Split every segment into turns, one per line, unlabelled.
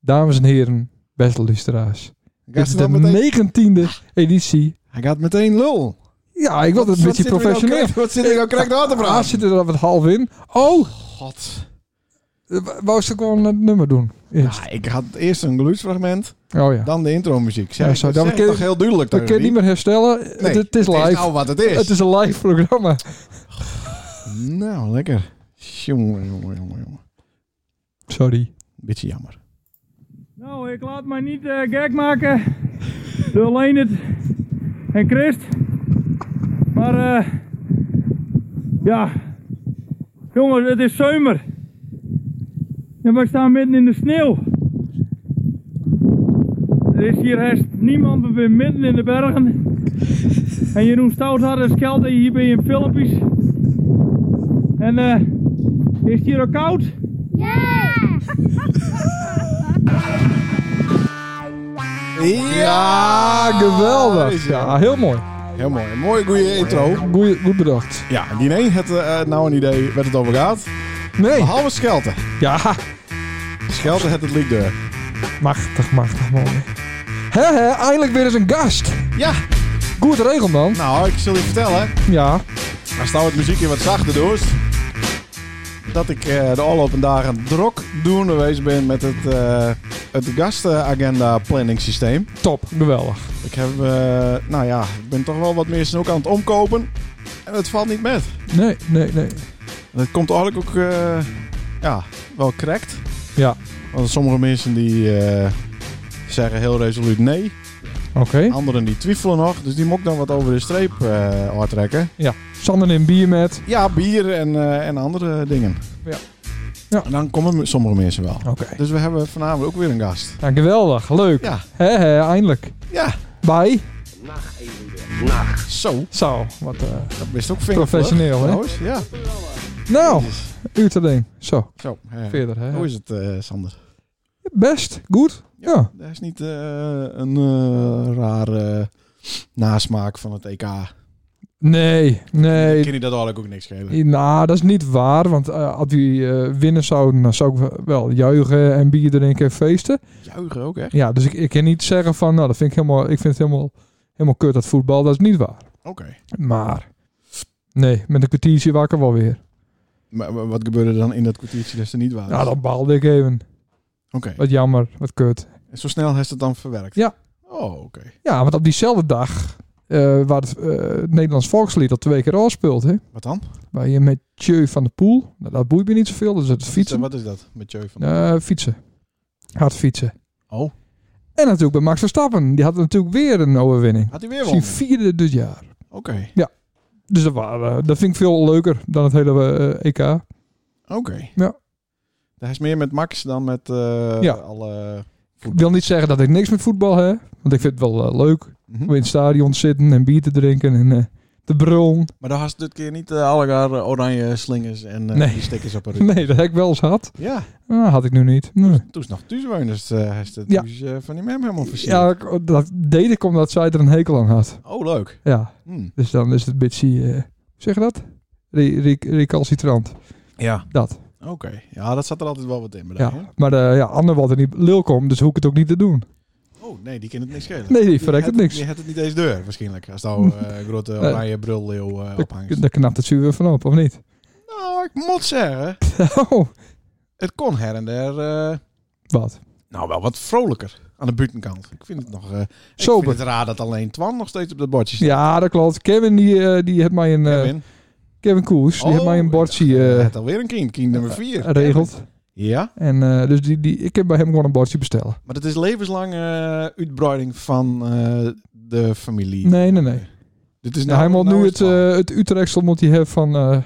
Dames en heren, beste luisteraars.
Hij
Dit is
gaat,
de
wel meteen, Ah.
negentiende editie.
hij gaat meteen lul.
Ja, ik wilde het een beetje
zitten we nou
professioneel.
correct- Wat zit ik nou correct aan te
Ah,
praten?
zit er dan wat half in. Oh,
God.
eh, w- wou ze gewoon het nummer doen? Eerst.
Ja, ik had eerst een geluidsfragment,
Oh ja.
dan de intromuziek. Zeg,
Ja,
ja,
zo,
zo,
dan
dat
kun
zeg
je-
ik toch heel duidelijk.
Dat kun je
tegen
niet meer herstellen.
wie? Nee,
het, het is
Het is
live.
nou wat het is.
Het is een live programma.
Nou, lekker. Jongen, jongen, jongen, jongen.
Sorry.
Beetje jammer.
Nou, ik laat mij niet eh, gek maken door Leendert en Christ. Maar eh ja, jongens, het is zomer. En wij staan midden in de sneeuw. Er is hier haast niemand, we zijn midden in de bergen. En Jeroen Stouthard en Skelde hier bij in filmpjes. En eh, is het hier ook koud?
Ja, daar Ah, is
Ah, Geweldig.
hij.
Ja, heel mooi.
Heel mooi. Een mooie, goede intro.
Goeie, goed bedacht.
Ja, die nee, het, eh, nou een idee waar het over gaat.
Nee.
Behalve Schelten.
Ja,
Schelten het het lied door.
machtig, machtig mooi. Hè, hè, eindelijk weer eens een gast.
Ja,
Goed regel, man.
nou, ik zal je vertellen.
Ja.
Maar staan het muziekje wat zachter doet. Dat ik eh, de afgelopen dagen drok doen geweest ben met het, eh, het gastenagenda planning systeem.
Top. Geweldig.
Ik heb, eh, nou ja, ik ben toch wel wat meer snoek aan het omkopen. En het valt niet met.
Nee, nee, nee.
En het komt eigenlijk ook, eh, ja, wel correct.
Ja.
Want sommige mensen die eh, zeggen heel resoluut nee.
Oké.
Anderen die twijfelen nog. Dus die moet ik dan wat over de streep eh uittrekken.
Sander in bier met.
Ja, bier en, eh, en andere dingen.
Ja. Ja.
En dan komen sommige mensen wel.
Oké.
Dus we hebben vanavond ook weer een gast.
Ja, geweldig. Leuk.
Ja,
Hè, hè, eindelijk.
ja.
Bye.
Zo,
Zo, wat eh,
dat is ook vinger.
Professioneel, hè?
trouwens. Ja.
Nou, uur te ding. Zo,
Zo, eh,
verder, hè.
hoe is het, eh, Sander?
Best, goed. Ja.
Dat is niet eh, een eh, rare nasmaak van het EK.
Nee,
Ik
nee.
ken je dat eigenlijk ook niks schelen.
Nou, dat is niet waar, want eh, als die eh, winnen zouden, dan zou ik wel juichen en bier drinken en feesten.
Juichen ook, echt?
Ja, dus ik, ik kan niet zeggen van, nou, dat vind ik helemaal, ik vind het helemaal, helemaal kut, dat voetbal. Dat is niet waar.
Oké.
Maar, nee, met een kwartiertje wakker wel weer.
Maar wa- wat gebeurde er dan in dat kwartiertje dat ze niet waren?
Ja, dan baalde ik even.
Oké.
Wat jammer, wat kut.
En Zo snel heeft het dan verwerkt?
Ja.
Oh, oké.
Ja, want op diezelfde dag eh, waar het, eh, het Nederlands volkslied al twee keer afspeelt, hè?
Wat dan?
Bij je met Tjeu van de Poel. Nou, dat boeit me niet zoveel, dus het fietsen.
Wat is dat met Joey van
Eh, fietsen. Hard fietsen.
Oh.
En natuurlijk bij Max Verstappen. Die had natuurlijk weer een overwinning.
Had hij weer
Zijn
wel?
vierde dit jaar.
Oké.
Dus dat, waren, eh, dat vind ik veel leuker dan het hele eh, EK.
Oké.
Ja.
Hij is meer met Max dan met eh,
Ja.
alle...
Ik wil niet zeggen dat ik niks met voetbal heb. Want ik vind het wel eh, leuk.
Mhm.
Om in het stadion te zitten en bier te drinken en eh, te brullen.
Maar dan had dit keer niet eh, alle jaar eh, oranje slingers en eh,
Nee.
die stickers op haar rug.
Nee, dat heb ik wel eens gehad.
Ja,
Ah, had ik nu niet. Nee.
toen is nog Tuesweuners. eh hij is de
Ja.
Thuis, eh, van die mem helemaal versierd.
Ja, ik- dat deed ik omdat zij er een hekel aan had.
Oh, leuk.
Ja,
Hm.
dus dan is het bitchy... eh, hoe zeg je dat? Re- re- recalcitrant.
Ja.
Dat.
Oké. Ja, dat zat er altijd wel wat in. bedenk je?
Ja. Maar eh ja, Anne wilde niet lul komen, dus hoef ik het ook niet te doen.
Oh, nee, die kan het niks schelen.
Nee, die verrekt
had-
het niks.
Die had het niet eens deur, waarschijnlijk. Als nou eh grote oranje brulleeuw eh ophangt.
Daar knapt het zuur weer van op, of niet?
Nou, ik moet zeggen,
Oh,
het kon her en der... eh,
wat?
nou, wel wat vrolijker aan de buitenkant. Ik vind het nog... eh Ik
Sober.
vind het raar dat alleen Twan nog steeds op dat bordje staat.
Ja, dat klopt. Kevin, die, eh, die heeft mij een... eh, Kevin,
Kevin. Oh,
Koers, die heeft mij een bordje
Hij
eh
had alweer een kind, kind nummer 4.
regeld.
Ja,
En eh, dus die, die, ik heb bij hem gewoon een bordje bestellen.
maar dat is levenslange eh, uitbreiding van eh, de familie.
Nee, nee, nee.
Dit is nou
Ja, hij moet nu
is
het, eh, het Utrechtsel moet hij hebben van, eh, van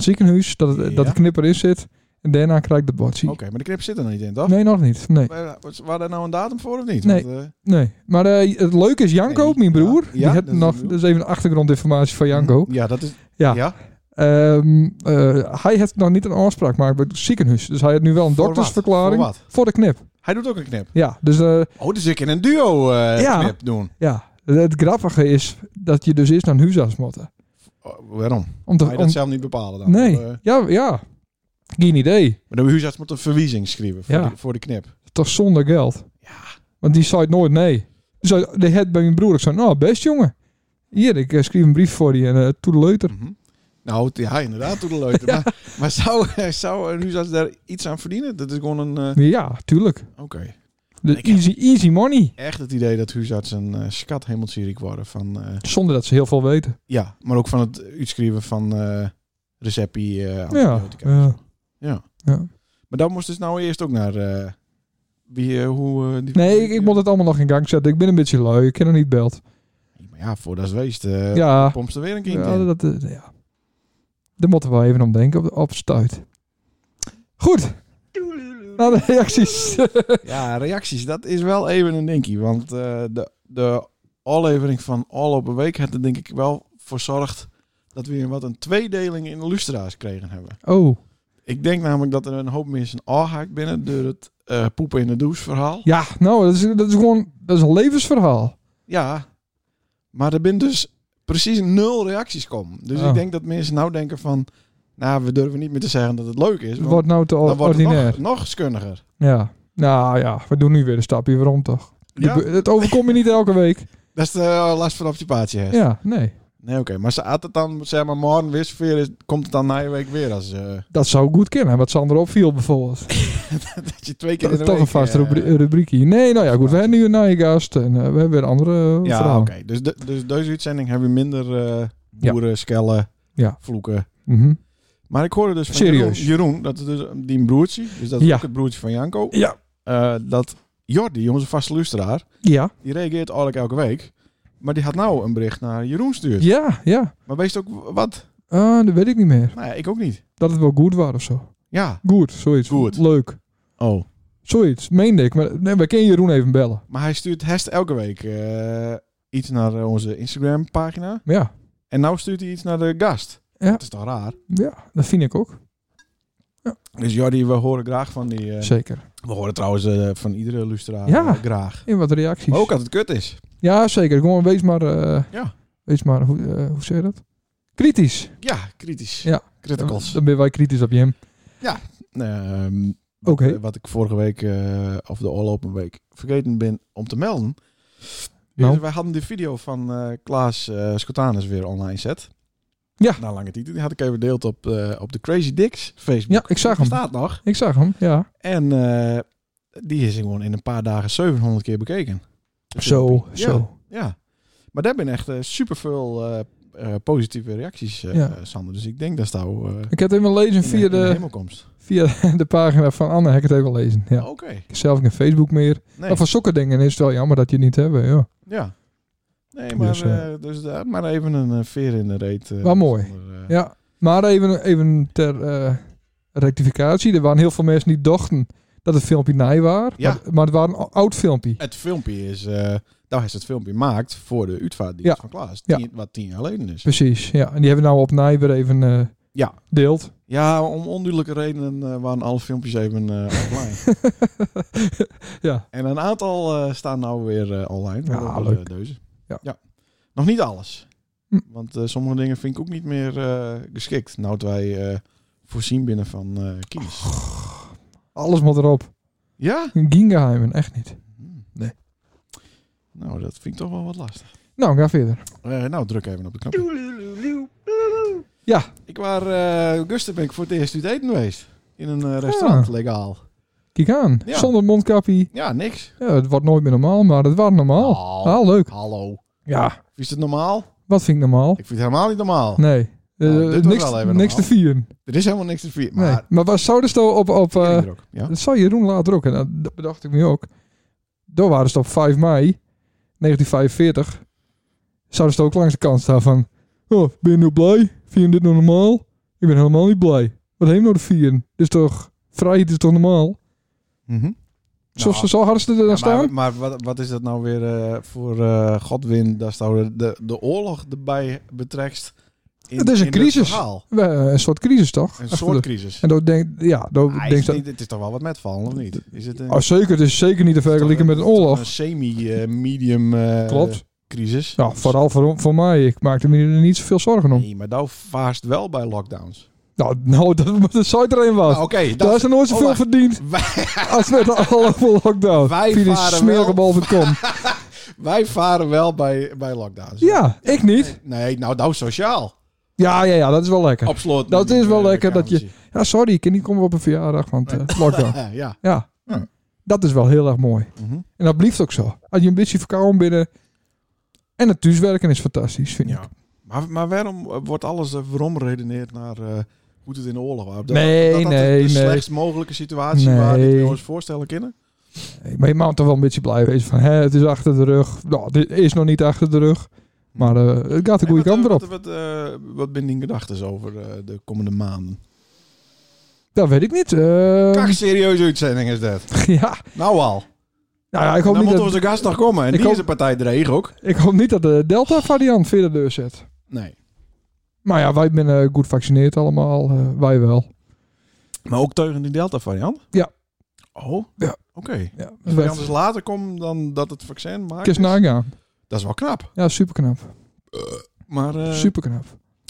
het ziekenhuis, dat, het,
Ja.
dat de knipper in zit. En daarna krijg ik de bordje.
Oké, maar de knip zit er nog niet in, toch?
eh, Nee, nog niet. Nee,
Maar, eh, Waar daar nou een datum voor of niet?
Nee.
Want, eh,
nee. Maar eh, het leuke is Janko,
Nee.
mijn broer.
Ja,
die
ja,
heeft
dat is
nog,
mijn broer. Mm-hmm.
dus even achtergrondinformatie van Janko.
hm, Ja, dat is...
Ja.
Ja.
Ehm, eh, hij heeft nog niet een aanspraak gemaakt bij het ziekenhuis. Dus hij heeft nu wel een
Voor
doktersverklaring
wat? Voor
voor de knip.
Hij doet ook een knip.
Ja, dus eh,
Oh, dus ik in een duo eh
Ja.
knip doen.
ja. het grappige is dat je dus eerst naar een huisarts moet.
Oh, waarom?
Om te,
Ga je
om-
dat zelf niet bepalen dan?
nee,
Of, eh,
ja, ja. Geen idee.
maar de huisarts moet een verwijzing schrijven voor,
Ja.
de, voor de knip.
toch zonder geld. Ja. Want die zei nooit nee. Zo, die had bij mijn broer. Ik zei, nou best jongen. Hier, ik eh, schreef een brief voor die en eh toen leuter.
Mhm. Nou, t- ja, inderdaad, doe de leute. Maar, maar zou, zou een huisarts daar iets aan verdienen? Dat is gewoon een... eh,
Ja, tuurlijk.
Oké.
De
Ik heb-
easy, easy money.
Echt het idee dat huisartsen een eh, skat hemeltierik worden. Van, eh,
Zonder dat ze heel veel weten.
ja, maar ook van het uitschrijven van eh receptie eh,
Ja.
antibiotica.
ja.
Maar dat moest dus nou eerst ook naar... eh, wie, eh, hoe, eh, die-
Nee, ik, ik moet het allemaal nog in gang zetten. Ik ben een beetje lui. Ik ken er niet belt.
Maar ja, voordat het weest, eh
ja.
pompt er weer een kind
Ja,
in.
dat, dat- ja. Daar moeten we wel even om denken op, op stuit. Goed. Naar de reacties.
Ja, reacties. Dat is wel even een dinkie. Want eh, de, de aflevering van All Op Een Week had er denk ik wel voor zorgd dat we een- wat een tweedeling in de lustra's kregen hebben.
Oh,
Ik denk namelijk dat er een hoop mensen afhaakt binnen door het eh, poepen in de douche verhaal. Ja.
ja, nou, dat is, dat is gewoon dat is een levensverhaal.
Maar er zijn dus precies nul reacties komen. Dus
Oh.
ik denk dat mensen nou denken van... Nou, we durven niet meer te zeggen dat het leuk is.
Het
Want
wordt nou te
dan wordt het
ordinair.
nog, nog skundiger.
Ja. Nou ja, we doen nu weer een stapje waarom toch? Die
Ja,
be- Het overkomt je niet elke week.
dat is de eh, last van occupatie. hè.
Ja, nee.
Nee, oké. Maar ze had het dan, zeg maar, morgen weer sfeer is, komt het dan na je week weer als... eh,
Dat zou goed kennen, wat Sander opviel bijvoorbeeld.
dat je twee keer
Dat is
in de
toch
week,
een vast
eh,
rubri- rubriekje. Nee, nou ja, goed. We hebben nu een naaiengast en eh, we hebben weer andere eh,
Ja, oké.
verhalen.
Dus, de- dus deze uitzending hebben we minder eh boeren, skellen,
Ja.
vloeken.
Mhm.
Maar ik hoorde dus van
Serieus?
Jeroen, Jeroen, dat het dus die een broertje, dus dat is
Ja.
ook het broertje van Janko,
Ja.
eh, dat Jordi, onze vaste luisteraar,
Ja.
die reageert eigenlijk elke week. Maar die had nou een bericht naar Jeroen stuurd.
Ja, ja.
Maar wees het ook wat?
Ah, dat weet ik niet meer.
Nou ja, ik ook niet.
Dat het wel goed was of zo.
Ja.
Goed, zoiets.
Goed.
Leuk.
Oh.
Zoiets, meende ik. Maar nee, we kunnen Jeroen even bellen.
Maar hij stuurt hest elke week eh, iets naar onze Instagram pagina.
Maar ja,
En nou stuurt hij iets naar de gast.
Ja.
Dat is toch raar?
ja, dat vind ik ook.
Dus Jordi, we horen graag van die... eh,
Zeker.
we horen trouwens eh, van iedere lustraar
Ja.
eh, graag.
In wat reacties.
Maar ook als het kut is.
Ja, zeker. Gewoon wees maar... eh,
Ja.
Wees maar, hoe, eh, hoe zeg je dat? Kritisch.
Ja, kritisch.
Ja.
Criticals.
Dan ben wij kritisch op Jim.
Ehm, wat,
Oké.
eh, wat ik vorige week, eh, of de oorlopen week, vergeten ben om te melden.
Nou.
Dus wij hadden de video van eh, Klaas eh Scotanus weer online zet.
Ja.
Na lange titel. Die had ik even gedeeld op, eh, op de Crazy Dicks Facebook.
Ja, ik zag hem.
Die staat nog.
Ik zag hem, ja.
En eh, die is gewoon in een paar dagen 700 keer bekeken. Dus
Zo,
dat- Ja,
zo.
ja. Maar daar ben echt eh, super veel eh, positieve reacties, eh,
Ja.
eh, Sander. Dus ik denk dat het nou eh,
Ik heb het even lezen
in,
via
in de
de,
hemelkomst.
via de pagina van Anne. Heb ik het even lezen, ja.
Oké.
Ik heb zelf geen Facebook meer.
Nee.
Maar van zulke dingen is het wel jammer dat je het niet hebt. Ja.
Ja. Nee, maar,
Dus,
dus, dus daar maar even een eh, veer in de reet. eh,
Maar mooi.
Sander, eh.
Ja, maar even, even ter eh, rectificatie. Er waren heel veel mensen die dachten dat het filmpje naai was.
Ja.
Maar, maar het was een o- oud filmpje.
Het filmpje is... eh daar is het filmpje gemaakt voor de uitvaartdienst
Ja.
van Klaas.
Ja.
Tien- wat tien jaar geleden is.
Precies, ja. En die hebben we nou op naai weer even eh
Ja.
deeld.
Ja, om onduidelijke redenen eh, waren alle filmpjes even eh, offline.
Ja.
En een aantal eh, staan nou weer eh, online.
Ja,
Waaronder,
leuk.
eh, deze.
Ja.
Nog niet alles.
Hm.
Want eh, sommige dingen vind ik ook niet meer eh, geschikt. Nou, het wij eh, voorzien binnen van eh kies.
Oh. Alles moet erop.
Ja?
Gingeheimen, echt niet.
Hm.
Nee.
Nou, dat vind ik toch wel wat lastig.
Nou, ga verder.
Eh, nou, druk even op de knop.
Ja.
Ik was, eh Gusten ben ik voor het eerst uit eten geweest. In een eh,
Ah.
restaurant, legaal.
Kijk aan.
Ja.
Zonder mondkapje.
Ja, niks.
Ja, het wordt nooit meer normaal, maar het was normaal.
Oh.
Ah, leuk.
Hallo.
Ja.
Is het normaal?
Wat vind ik normaal?
Ik vind het helemaal niet normaal.
Nee. Eh,
Nou, dit was
niks
wel even
niks te
normaal.
vieren.
Er is helemaal niks te vieren.
Maar, nee.
Maar
maar wat zouden ze op... op eh,
Kinderen ook, ja?
Dat zei Jeroen later ook. En dat dat bedacht ik me ook. Daar waren ze op 5 mei 1945. Zouden ze ook langs de kant staan van... Oh, ben je nu blij? Vind je dit nou normaal? Ik ben helemaal niet blij. Wat heeft nou de vieren? Is toch... Vrijheid is toch normaal?
Mhm.
Zo,
Nou,
zo, zo hadden ze er dan
ja,
staan?
maar, maar wat, wat is dat nou weer eh, voor eh, Godwin? Daar zou de, de oorlog erbij betrekt. In,
Het is een
in dit
crisis.
verhaal.
We- eh, een soort crisis toch?
Een
Achter
soort
de-
crisis.
En dan denk ja, dan
Ah, is
denk
het,
dat,
niet, het is toch wel wat met vallen, of niet? Is het een,
oh, zeker, het is zeker niet te vergelijken met een oorlog.
Een semi-medium eh
Klopt.
crisis.
Nou, vooral voor, voor mij. Ik maakte me er niet zoveel zorgen om.
Nee, maar nou vaast wel bij lockdowns.
Nou, nou dat, dat zou er een was.
Nou, Oké, dat-
Daar is er nooit zoveel
oh, wacht.
verdiend
Wij,
als met de afgelopen lockdown.
Wij
Via die
varen
smerige
wel.
bal van kom.
wij varen wel bij, bij lockdowns.
Ja, ik niet.
Nee, nou, nou sociaal.
Ja, ja, ja, dat is wel lekker.
Absoluut.
Dat
niet,
is wel
eh,
lekker dat je-
kamertje.
Ja, sorry, ik kan niet komen op een verjaardag, want eh, lockdown.
Ja, ja.
Ja,
Ja.
dat is wel heel erg mooi.
Mhm.
En dat blijft ook zo. Als je een beetje verkouden binnen... eh, En het thuiswerken is fantastisch, vind ik.
ja. Maar, maar waarom eh, wordt alles eh, waarom redeneerd naar eh, hoe het in de oorlog was? Dat-
Nee,
dat, dus dat
nee,
de
nee.
slechtst mogelijke situatie
Nee.
waar ik me eens voorstellen kunnen.
Nee, Maar je mag toch wel een beetje blij wezen van... Hè, het is achter de rug. Nou, dit is nog niet achter de rug. Maar eh, het gaat de goede
En wat,
kant
eh,
erop.
Wat, wat, eh, wat ben je gedachten over eh, de komende maanden?
Dat weet ik niet. Eh,
Kak, serieuze uitzending is dat.
ja.
Nou al.
Nou ja, ik hoop
Dan
niet
moet
dat...
onze gast nog komen. En
Ik
die
hoop-
is een partij dreig ook.
Ik hoop niet dat de Delta-variant verder deur zet.
Nee.
Maar ja, wij zijn eh, goed gevaccineerd allemaal. eh, wij wel.
Maar ook teugen die Delta variant?
Ja.
Oh?
Ja.
Oké.
Ja,
Als die
wij-
anders later komt dan dat het vaccin maakt.
Kist
is,
nagaan.
Dat is wel knap.
Ja, superknap.
Maar, eh,
Superknap.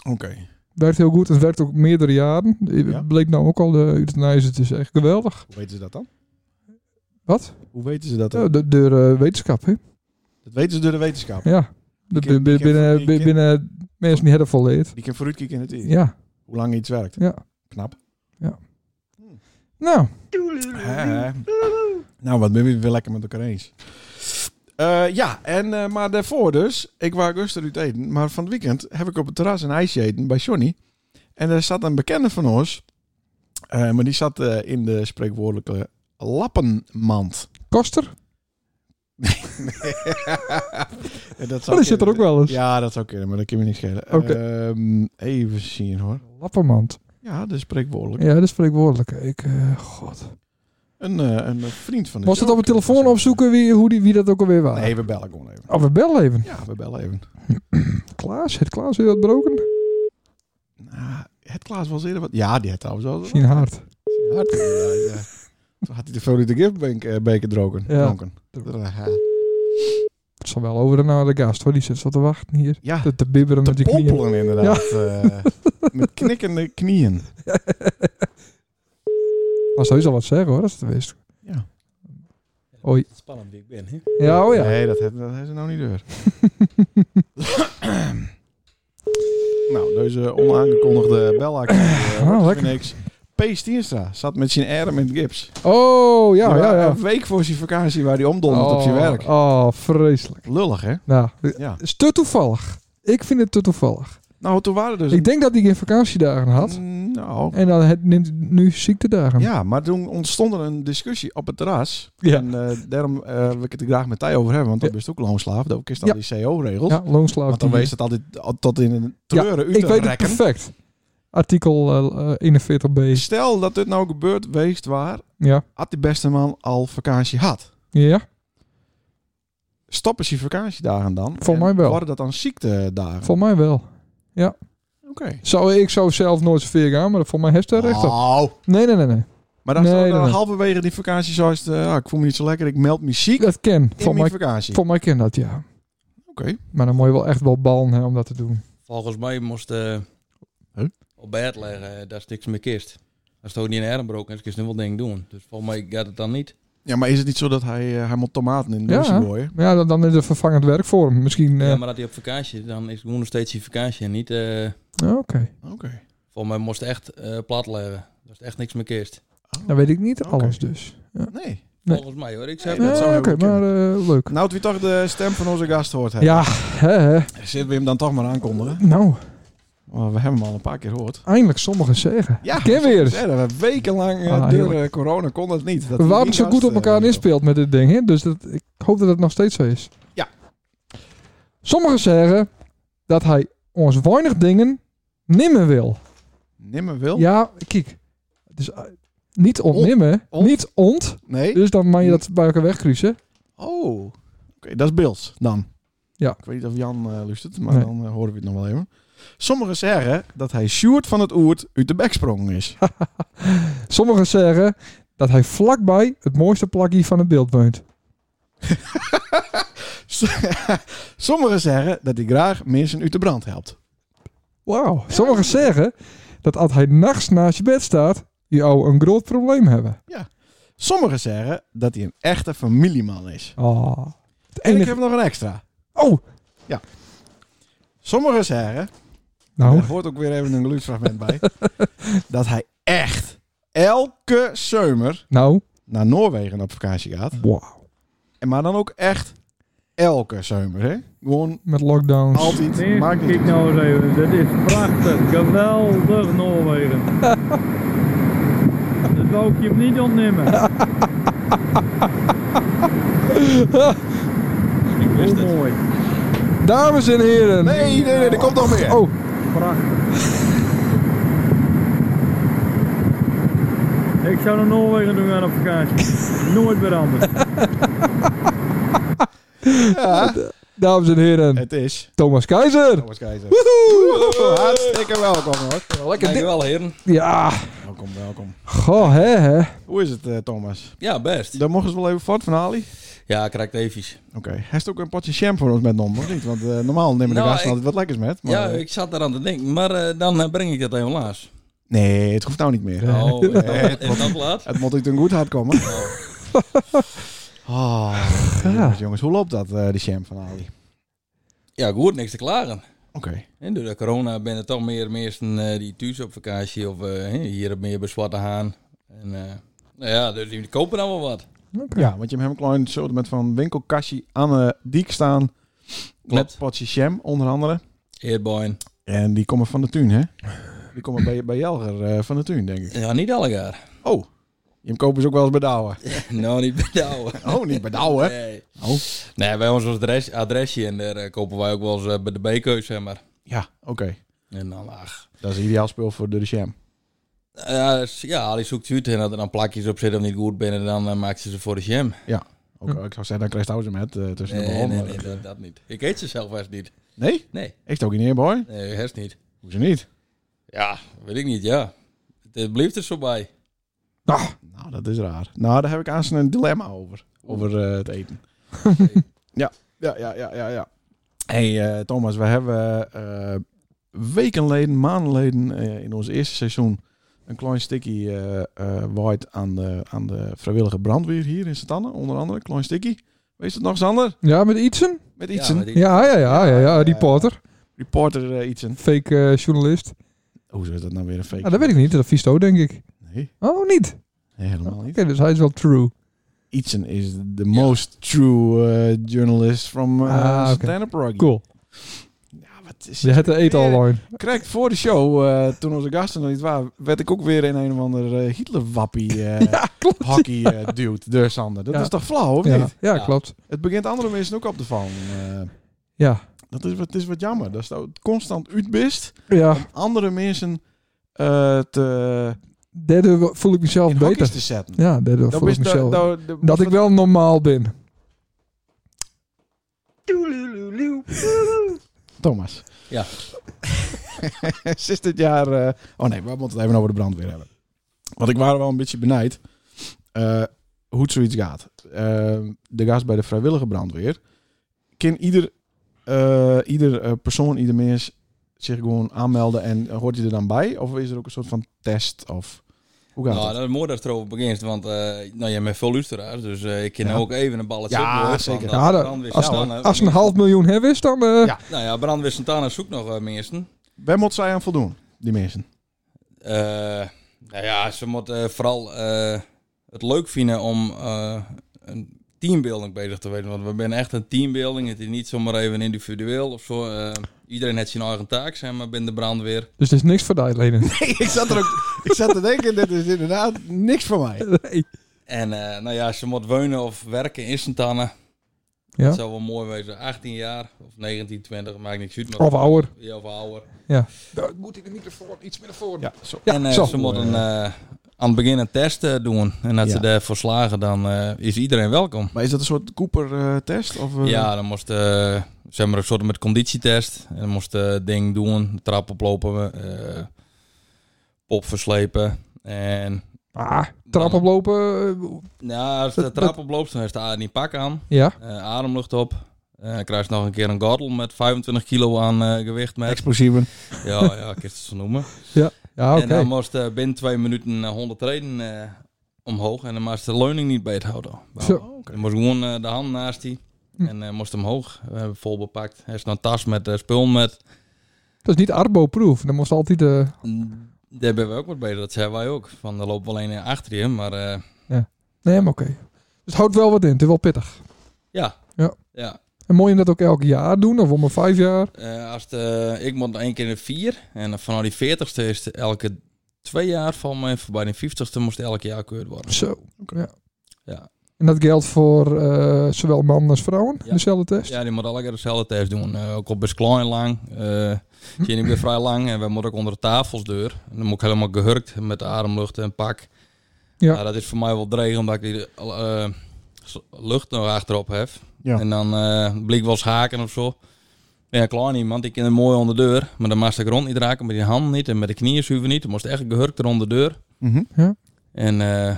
Oké.
Werkt heel goed. Het werkt ook meerdere jaren. Het
Ja.
bleek nou ook al de euthanaise. Het is echt geweldig.
Hoe weten ze dat dan?
Wat?
Hoe weten ze dat dan?
Ja, de, door eh, wetenschap, hè?
Dat weten ze door de wetenschap.
Ja. De,
ken- ik
binnen,
ken van
binnen,
die- ik ken-
binnen mensen die hebben volleerd.
Die kan vooruitkijken in het uur.
Ja.
Hoe lang iets werkt.
Ja.
Knap.
Nou,
Hè, hè. nou, wat ben je weer lekker met elkaar eens. Eh, ja, en, eh, maar daarvoor dus. Ik wou gisteren uit eten. Maar van het weekend heb ik op het terras een ijsje eten bij Johnny. En daar zat een bekende van ons. eh, maar die zat eh, in de spreekwoordelijke lappenmand.
Koster?
En dat
Oh, die zit er ook wel eens.
Ja, dat zou kunnen, maar dat kan me niet schelen.
Oké.
Ehm, even zien hoor.
Lappermand.
Ja, de spreekwoordelijk.
Ja, dat is spreekwoordelijk. Ik, eh, god.
Een, eh, een vriend van de
Was het op
show.
een telefoon opzoeken wie, hoe die, wie dat ook alweer was?
eh, Nee, we bellen gewoon even.
Oh, we bellen even.
Ja, we bellen even.
Klaas, het Klaas weer wat broken?
Nou, het Klaas was eerder wat. Ja, die had trouwens wel.
Misschien hard.
Ja, die- ja, ja. Toen had hij de Florida Gift Bank, eh, beker drogen.
Ja.
dronken. eh, Ja,
Het zal wel over en naar de gast hoor. Die zit zo te wachten hier.
ja
Te, te bibberen met
te
die knieën.
pompelen inderdaad. eh, met knikkende knieën.
Maar zou je al wat zeggen hoor, als het wist.
Ja.
Oei.
Spannend wie ik ben, hè?
Ja, oh ja.
Nee, dat hebben dat hebben ze nou niet door. nou, deze onaangekondigde belactie. eh, wordt
Oh, lekker.
Niks. P. Stienstra zat met zijn arm in het gips.
Oh, ja,
Er
ja,
waren
ja.
Een week voor zijn vakantie waar hij omdondert op zijn
Oh,
werk.
Oh, vreselijk.
Lullig, hè?
Nou,
Ja.
het is te toevallig. Ik vind het te toevallig.
Nou, toen waren dus...
Ik denk dat hij geen vakantiedagen had.
Mm, Nou,
En dan het neemt hij nu ziektedagen.
Ja, maar toen ontstond er een discussie op het terras.
Ja.
En eh, daarom eh, wil ik het er graag met Thij over hebben. Want dat
Ja.
is ook loonslaaf. Dat is dan
Ja.
die CO-regels.
ja loonslaaf.
want dan
die-
wees het altijd al- tot in een treuren uit
Ik
te
weet het
rekken.
perfect. Artikel eh, eh, 41b.
Stel dat dit nou gebeurd weest waar...
Ja.
had die beste man al vakantie had.
Ja,
Stoppen ze vakantiedagen dan?
Voor
En
mij wel.
Worden dat dan ziektedagen?
voor mij wel.
Oké.
Zou, ik zou zelf nooit zover gaan, maar voor mij heeft hij recht op.
Nou,
Nee, nee, nee, nee.
Maar dan
Nee,
staat er
nee, nee.
halverwege die vakantie zoals... eh, ah, ik voel me niet zo lekker, ik meld me ziek
Dat ken.
in
Voor
mijn
mij,
vakantie.
voor mij ken dat, ja.
Oké.
Maar dan moet je wel echt wel ballen hè, om dat te doen.
Volgens mij moest eh
Huh?
op bed leggen eh, dat is niks meer kist. Als het ook niet in een broek is, kun je wel dingen doen. Dus volgens mij gaat het dan niet.
Ja, maar is het niet zo dat hij, eh, hij moet tomaten in de
Ja.
douche gooien?
Maar ja, dan, dan is het vervangend werk voor hem. Misschien... eh,
Ja, maar dat hij op vakantie is, dan is het gewoon nog steeds die vakantie en niet. eh
ja, Oké. Nou,
Oké.
volgens mij moest het echt eh plat leggen. Dat is echt niks meer kist.
Oh.
Dan weet ik niet
Oké.
alles dus.
Nee.
Nee.
Volgens mij hoor, ik zeg
Nee, dat
dat.
Ja,
zou
Oké,
heel goed
maar eh, leuk.
Nou, het wie toch de stem van onze gast hoort hebben.
Ja, hè, hè.
Zitten we hem dan toch maar aankondigen?
nou,
Oh, we hebben hem al een paar keer gehoord.
eindelijk sommigen zeggen.
Ja,
Ken weer.
Ja, dat we wekenlang eh,
Ah,
door
heerlijk.
eh, corona kon dat niet. Dat
We
die
waren zo
gast,
goed op
eh,
elkaar inspeeld met dit ding, hè? dus dat, ik hoop dat het nog steeds zo is.
Ja.
Sommigen zeggen dat hij ons weinig dingen nimmer wil.
Nimmer wil?
Ja, kijk. Dus eh, niet ontnemen,
Ont.
niet ont.
Nee?
Dus dan mag je
Hmm.
dat bij elkaar wegkruisen.
Oh. Oké, dat is Bils dan.
Ja.
Ik weet niet of Jan eh luistert, maar
Nee.
dan eh, horen we het nog wel even. Sommigen zeggen dat hij Sjoerd van het Oert uit de bek sprongen is.
Sommigen zeggen dat hij vlakbij het mooiste plakje van het beeld woont.
Sommigen zeggen dat hij graag mensen uit de brand helpt.
Wauw. Sommigen zeggen dat als hij nachts naast je bed staat, je al een groot probleem hebben.
Sommigen zeggen dat hij een echte familieman is.
Oh. Het
En ik
enige...
heb nog een extra.
Oh,
Sommigen zeggen,
nou,
daar hoort ook weer even een geluidsfragment bij, dat hij echt elke zomer
nou,
naar Noorwegen op vakantie gaat.
wow.
En maar dan ook echt elke zomer, hè? Gewoon
Met lockdowns.
altijd. Maakt
Eerst,
niet
kijk
uit.
nou eens even. Dit is prachtig. Geweldig Noorwegen. Dat wou ik je hem niet ontnemen.
Ik wist
Hoe
het.
mooi.
Dames en heren.
Nee, nee, nee, er komt nog meer.
Oh,
Prachtig. Ik zou naar Noorwegen doen gaan op vakantie. Nooit meer anders.
Ja,
dames en heren.
het is.
Thomas Keizer.
Thomas Keizer. Oh,
Woehoe!
Hartstikke welkom hoor.
Lekker dik-
Dankjewel, heren.
Ja,
Welkom, welkom.
goh, hè, hè.
Hoe is het, eh, Thomas?
Ja, best.
Daar mochten ze wel even voort van Ali.
Ja, krijg even.
Oké. Hij heeft ook een potje sham voor ons met nom, of niet? Want eh, normaal nemen de
Nou,
gasten
ik-
altijd wat lekkers met. Maar,
Ja,
eh,
ik zat eraan te denken, maar eh, dan eh, breng ik dat helemaal laatst.
Nee, het hoeft nou niet meer.
Oh, is dat-
Eh,
is dat laat?
Het moet natuurlijk een goed hard komen. Oh, jongens, jongens, hoe loopt dat, eh, de sham van Ali?
Ja, goed, niks te klagen.
Oké.
En door de corona ben er toch meer mensen eh, die thuis op vakantie of eh, hè, hier meer bij Zwarte Haan. En, eh, nou ja, dus die kopen dan wel wat.
Oké.
Ja, want je hebt hem een klein soort met van winkelkastje aan de diek staan. Met
Klopt.
potje sham, onder andere.
Eerboyn.
En die komen van de tuin, hè? Die komen bij, bij Jelger eh, van de tuin, denk ik.
Ja, niet allegaar.
Oh, je kopen ze ook wel eens bij Douwe.
nou, niet bedouwen.
Oh, niet bij Douwe.
Nee.
Oh.
nee, bij ons was het adres, adresje en daar eh, kopen wij ook wel eens eh, bij de B-keus, zeg maar.
Ja, oké.
En dan, ach.
Dat is een ideaal speel voor de sham.
Ja, dus, ja, die zoekt ze uit en als er dan plakjes op zitten of niet goed binnen, dan eh, maakt ze ze voor de jam.
Ook, eh, Ik zou zeggen, dan krijgt Douwe ze met eh, tussen de
Nee,
bal.
nee,
maar-
nee, dat, dat niet. Ik eet ze zelf echt niet.
Nee?
Nee,
Heeft ook niet neer, boy.
nee, herst niet.
Hoezo niet?
Ja, weet ik niet, ja. Het blijft er zo bij.
Nou, dat is raar. Nou, daar heb ik aan een dilemma over. Over eh, het eten. ja, ja, ja, ja, ja. ja. hey, eh, Thomas, we hebben eh wekenleden, maandenleden eh, in ons eerste seizoen een klein stikkie eh eh, waaid aan de, aan de vrijwillige brandweer hier in Santanne. Onder andere, klein stikkie. Wees het nog, Sander?
Ja, met Ietsen?
Met Ietsen.
maar die-
Ja, ja, ja, ja, ja, reporter.
Reporter eh, Ietsen.
Fake eh, journalist.
Hoe is dat nou weer een fake?
Ah, dat weet ik niet, dat is Visto, denk ik.
Nee,
Oh, niet? Oké,
nee, helemaal niet.
dus hij is wel true.
Ietsen is the most true eh, journalist from eh
Ah, oké.
stand-up rock.
Cool.
Ja, wat is
Je hebt de eet online.
Correct, voor de show, eh, toen onze gasten nog niet waren, werd ik ook weer in een of ander eh, Hitler-wappie eh, hockey eh, duwt. Dus Sander, dat
Ja.
is toch flauw, of
Ja,
niet?
ja,
Ja.
klopt.
Het begint andere mensen ook op te vallen. eh.
Ja.
dat is, wat- het is wat jammer. Dat je constant uitbist
Ja,
andere mensen eh, te,
derde voel ik mezelf
in hokjes
beter.
te zetten.
Ja, derde voel ik
is
mezelf. Dat,
dat- dat-
ik wel normaal ben.
Thomas.
Ja.
Sinds dit jaar... eh, oh nee, we moeten het even over de brandweer hebben. Want ik waren wel een beetje benijd eh, hoe het zoiets gaat. Eh, de gast bij de vrijwillige brandweer. Kan ieder, eh, ieder eh, persoon, ieder mens zich gewoon aanmelden en hoort hij er dan bij? Of is er ook een soort van test? Of hoe gaat
nou,
dat?
dat is mooi dat het erover begint, want eh, nou, jij bent veel luisteraars, dus eh, ik ken
Ja.
nou ook even een balletje
Ja,
opdoen, want
zeker.
dat
Ja, dat-
brandweer
als-
Santana-
Als een half miljoen hebben is, dan... eh,
Ja.
Nou ja, brandweer Santana zoekt nog eh, mensen.
Waar moet zij aan voldoen, die mensen?
Eh, nou ja, ze moeten eh, vooral eh, het leuk vinden om eh, een teambuilding bezig te weten. Want we zijn echt een teambuilding. Het is niet zomaar even individueel of zo. Eh, iedereen heeft zijn eigen taak, zeg maar, binnen de brandweer.
Dus er is niks voor de uitleden.
ik zat er ook... ik zat te denken, dit is inderdaad niks voor mij.
Nee.
En eh, nou ja, ze moet wonen of werken in Santana.
Ja.
Dat zou wel mooi wezen. 18 jaar of 19, 20, maakt niks uit. Maar
Of ouder.
Ja, of ouder.
Moet ik de microfoon iets meer naar voren?
Ja, zo.
Ja,
en eh,
zo.
ze moeten eh, aan het begin een test eh, doen. En als
Ja.
ze daarvoor slagen, dan eh, is iedereen welkom.
Maar is dat een soort Cooper-test? of
Mm.
eh,
Ja, dan moest eh zeg maar een soort met conditietest. En dan moest eh ding doen, de trap oplopen, eh, pop verslepen. En
Ah, trap oplopen. eh,
nou, als de
Dat-
trap oploopt, dan is de adem in pak aan.
Ja.
Eh, ademlucht op. Eh krijg je nog een keer een gordel met 25 kilo aan eh, gewicht mee.
Explosieven.
Ja, ja, ik kan het zo noemen.
Ja. Ja, oké.
En dan moest eh binnen twee minuten eh, 100 treden eh, omhoog. En dan moest de leuning niet beet houden.
Zo. Hm.
Oh, oké.
Dan moest gewoon eh, de hand naast die. En eh, moest hem hoog. We hebben vol bepakt. Hij is een tas met eh, spul met.
Dat is niet Arbo-proof. Dan moest altijd... eh
Daar ben we ook wat beter. Dat zijn wij ook. Van, er loopt wel een eh, achter je. Maar eh,
Nee, maar oké. Dus het houdt wel wat in. Het is wel pittig.
ja.
Ja.
ja.
En moet je dat ook elk jaar doen? Of om een vijf jaar?
Eh, als de, ik moet één keer in de vier. En vanaf die veertigste is het elke twee jaar van mij. Bij de vijftigste moest elk jaar gekeurd worden.
Zo.
Oké.
Ja.
Ja.
En dat geldt voor eh, zowel mannen als vrouwen?
Ja.
Dezelfde test?
Ja, die moet elke keer dezelfde test doen. Eh, ook op best klein lang. Eh zie je niet meer vrij lang. En we moeten ook onder de tafelsdeur. En dan moet ik helemaal gehurkt met de ademlucht en pak.
Ja.
Ja. dat is voor mij wel dreig, omdat ik die eh, s- lucht nog achterop heb.
Ja.
En dan eh blik wel eens haken of zo. Ben ja, klein iemand, die kan er mooi onder de deur. Maar dan moest ik rond niet raken, met die handen niet en met de knieën zuiver niet. Dan moest echt gehurkt er onder de deur.
Mhm.
En, eh,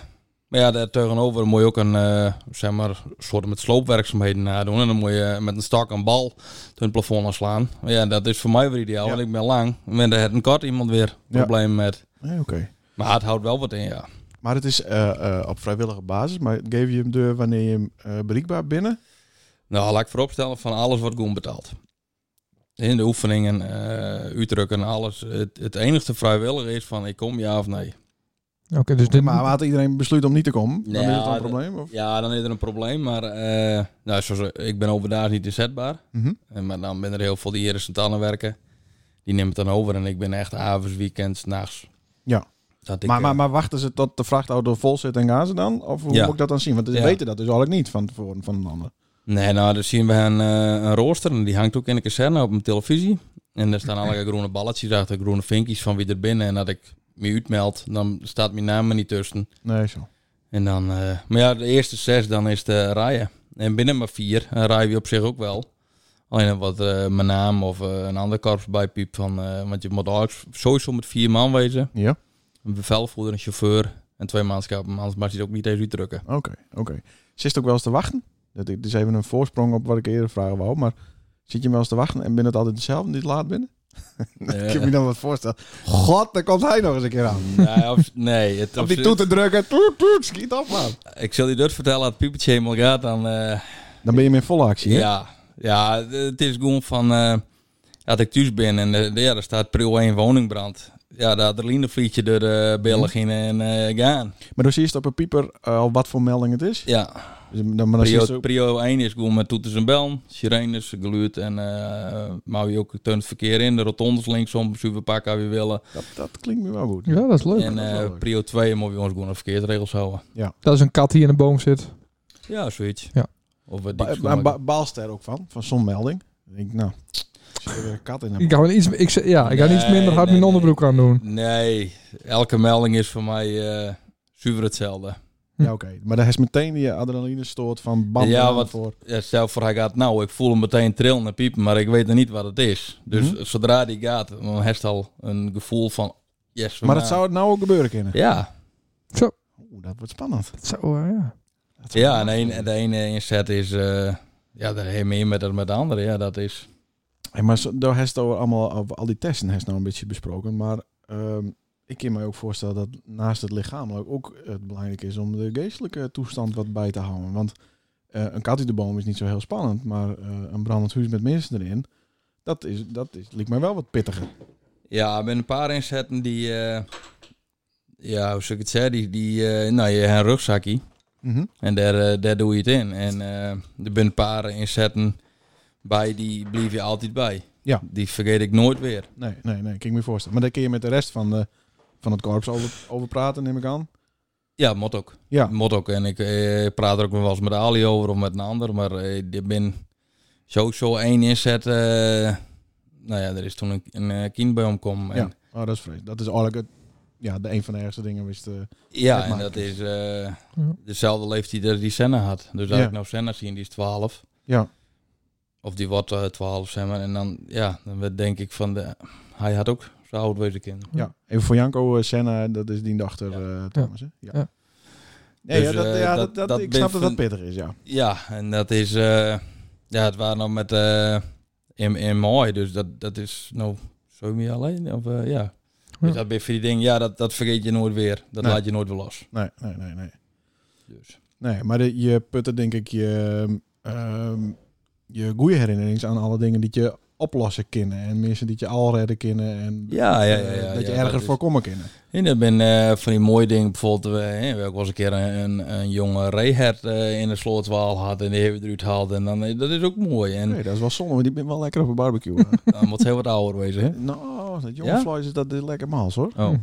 maar ja, daar tegenover moet je ook een eh, zeg maar, soort met sloopwerkzaamheden nadoen. En dan moet je met een stak een bal tegen het plafond afslaan. Maar ja, dat is voor mij weer ideaal,
Ja.
want ik ben lang. En daar had een kort iemand weer
Ja.
probleem met.
Nee, oké.
Maar het houdt wel wat in, ja.
Maar het is eh, eh, op vrijwillige basis. Maar geef je hem de wanneer je hem eh, bereikbaar binnen?
Nou, laat ik vooropstellen, van alles wordt gewoon betaald. In de oefeningen, eh uitdrukken, alles. Het, het enige vrijwillige is van, ik kom ja of nee.
Oké, dus dit...
Maar had iedereen besluit om niet te komen? Dan
Nou,
is het dan een
dat-
probleem? Of?
Ja, dan is er een probleem, maar eh, nou, zoals, ik ben overdag niet inzetbaar.
Mhm.
En, Eh, maar dan ben er heel veel die hier in Sint-Anne werken. Die nemen het dan over en ik ben echt avonds, weekends, nachts.
Ja.
Dat ik,
maar,
eh,
maar, maar wachten ze tot de vrachtauto vol zit en gaan ze dan? Of hoe
Ja.
moet ik dat dan zien? Want ze
Ja.
weten dat dus eigenlijk niet van tevoren van een ander.
Nee, nou, dan zien we een, eh, een rooster en die hangt ook in de kazerne op mijn televisie. En daar staan allerlei groene balletjes achter, groene vinkjes van wie er binnen. En dat ik me uitmeld, dan staat mijn naam er niet tussen.
Nee, zo.
En dan, eh, maar ja, de eerste zes, dan is de rijen. En binnen maar vier, en rijden we op zich ook wel. Alleen dan wat eh, mijn naam of eh, een ander korps bijpiept van, eh, want je moet altijd sowieso met vier man wezen.
Ja,
Een bevelvoerder, een chauffeur en twee manschappen, anders mag je het ook niet eens uitdrukken.
oké. oké. Zit je ook wel eens te wachten? Dat ik- Dit is even een voorsprong op wat ik eerder vragen wou. Maar zit je wel eens te wachten en ben het altijd hetzelfde niet laat binnen? Ik heb
Eh,
me dan wat voorstellen. God, daar komt hij nog eens een keer aan.
nou, of- nee, het,
Op
of-
die toeter drukken. Toet, toet, schiet af, man.
Ik zal je dat vertellen, als het piepertje helemaal gaat, dan... eh,
Dan ben je meer volle actie, hè?
ja, ja, het is gewoon van... eh dat ik thuis ben en eh, ja, er staat pril 1 woningbrand. Ja, de adrenaline vliegt je door de billen in en eh, gaan.
Maar dan zie je het op een pieper eh, al wat voor melding het is.
Ja,
Dus dan, maar dan zie je het
prio,
ook-
prio 1 is gewoon met toeters en bellen, sirenes, geluid en... eh maar je ook turnt het verkeer in, de rotondes linksom, superpakken als je willen.
dat, dat klinkt me wel goed.
Ja, dat is leuk.
En
dat is wel
eh,
leuk.
prio 2 moet je ons gewoon aan verkeersregels houden.
Dat is een kat die in een boom zit.
Ja, zoiets.
Ja.
Of wat
Ba- Maar ba baalst er ook van, van zo'n melding. Dan denk ik, nou, zit er weer een kat in hem.
Ik ga wel iets, ik, zeg- ja, ik ga iets
Nee,
minder hard mijn
nee, nee.
onderbroek aan doen.
Nee, elke melding is voor mij eh, zuiver hetzelfde.
Ja, oké. Maar dan is meteen die adrenaline stoort van bam.
Ja,
bam,
wat-
Voor.
Ja, stel voor hij gaat, nou, ik voel hem meteen trillen en piepen, maar ik weet nog niet wat het is. Dus
Mhm.
zodra die gaat, dan heeft hij al een gevoel van, yes, we
Maar dat
gaan.
zou het nou ook gebeuren kunnen.
Ja,
Oeh, dat wordt spannend.
Zo, eh, ja.
Dat zou
ja en
spannend
een,
worden.
de ene inzet is, eh, ja, daar heb je meer met, dan met de andere. Ja, dat is,
Hey, maar zo- daar heeft het over allemaal over al die testen heeft nou een beetje besproken, maar ehm, ik kan me ook voorstellen dat naast het lichamelijk ook het belangrijk is om de geestelijke toestand wat bij te houden. Want eh, een kat uit de boom is niet zo heel spannend, maar eh, een brandend huis met mensen erin, dat is dat is lijkt mij wel wat pittiger.
ja, met een paar inzetten die, eh, ja, hoe zou ik het zeggen, die, die eh, nou, je hebt een rugzakje. En daar, eh, daar doe je het in. En eh er zijn een paar inzetten bij, die blijf je altijd bij.
Ja.
Die vergeet ik nooit weer.
Nee, nee, nee, kan ik me voorstellen. Maar daar kun je met de rest van de van het korps over, over praten, neem ik aan.
Ja, mot ook.
Ja.
Mot ook. En ik eh, praat er ook nog wel eens met Ali over of met een ander. Maar eh ik ben sowieso één inzet. eh, nou ja, er is toen een, een eh, kind bij omkom. En,
Ja. Oh, dat is vreselijk. Dat is eigenlijk het, ja, de een van de ergste dingen wist. eh
ja,
Dat
en
maakt
dat
het.
is eh, dezelfde leeftijd als die Senna had. Dus als
Ja.
ik nou Senna zie, en die is 12.
ja.
Of die wordt eh, 12, zeg maar. En dan, ja, dan werd denk ik van, de, hij had ook zo oud wezen kinderen.
Ja, even voor Janko eh, Senna, dat is die dochter eh, Thomas. hè? Ja.
Ja.
Nee,
Dus,
ja, dat,
eh,
ja,
dat-
dat, dat,
dat
ik
ben
snap dat dat
van-
pittig is, ja.
Ja, en dat is. eh, ja, het waren nog met. eh in, in mooi, dus dat, dat is. Nou, zo meer alleen. Of, eh, ja.
Ja.
Dus dat ben je voor die dingen, ja, dat, dat vergeet je nooit weer. Dat
Nee.
laat je nooit weer los.
Nee, nee, nee, nee.
Dus.
Nee, maar de- je putte denk ik je, ehm je goede herinneringen aan alle dingen die je oplossen kunnen. En mensen die je al redden kunnen. En
Ja, ja, ja.
eh,
ja,
dat je
ja,
erger
dat is-
voorkomen kunnen.
En dat ben eh, van die mooie dingen. Bijvoorbeeld, eh, hè, we hebben ook wel eens een keer een, een, een jonge reehert eh, in een slootwaal had en die hebben we eruit gehaald. En dan, eh, dat is ook mooi. En
Nee, dat is wel zonde, want die ben wel lekker op een barbecue. hè.
dan moet ze heel wat ouder wezen, hè?
nou, dat
Ja?
jongensvlees is dat is lekker maals hoor.
Oh.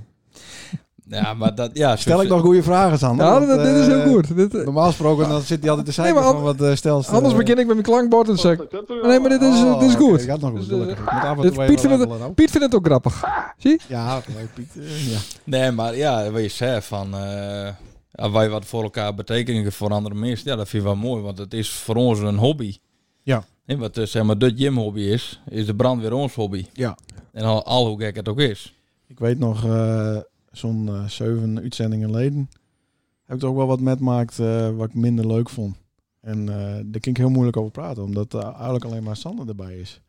Ja, maar dat, ja.
Stel ik
zo-
nog goede vragen aan.
Ja,
Nou,
dat, dit is heel goed. Dit,
Normaal gesproken dan zit hij altijd te zeiken
Nee, maar
van wat eh, stelst. eh,
anders begin ik met mijn klankbord en zeg ik, Nee, maar dit is,
oh,
dit is
oké,
goed.
dat gaat nog goed.
Dus,
gelukkig.
eh,
Ik moet af en
dit-
toe even
Piet vindt het-
rabbelen, nou.
Piet vindt het ook grappig.
Ja, oké, Piet. eh, ja.
Nee, maar ja, weet je, zegt, van... eh, ja, wij wat voor elkaar betekenen voor andere mensen. Ja, dat vind ik wel mooi, want het is voor ons een hobby.
Ja.
En wat eh, zeg maar de gym-hobby is, is de brandweer ons hobby.
Ja.
En al, al hoe gek het ook is.
Ik weet nog, eh, zo'n eh, zeven uitzendingen geleden heb ik er ook wel wat met gemaakt eh, wat ik minder leuk vond. En eh daar kan ik heel moeilijk over praten, omdat eh, eigenlijk alleen maar Sander erbij is.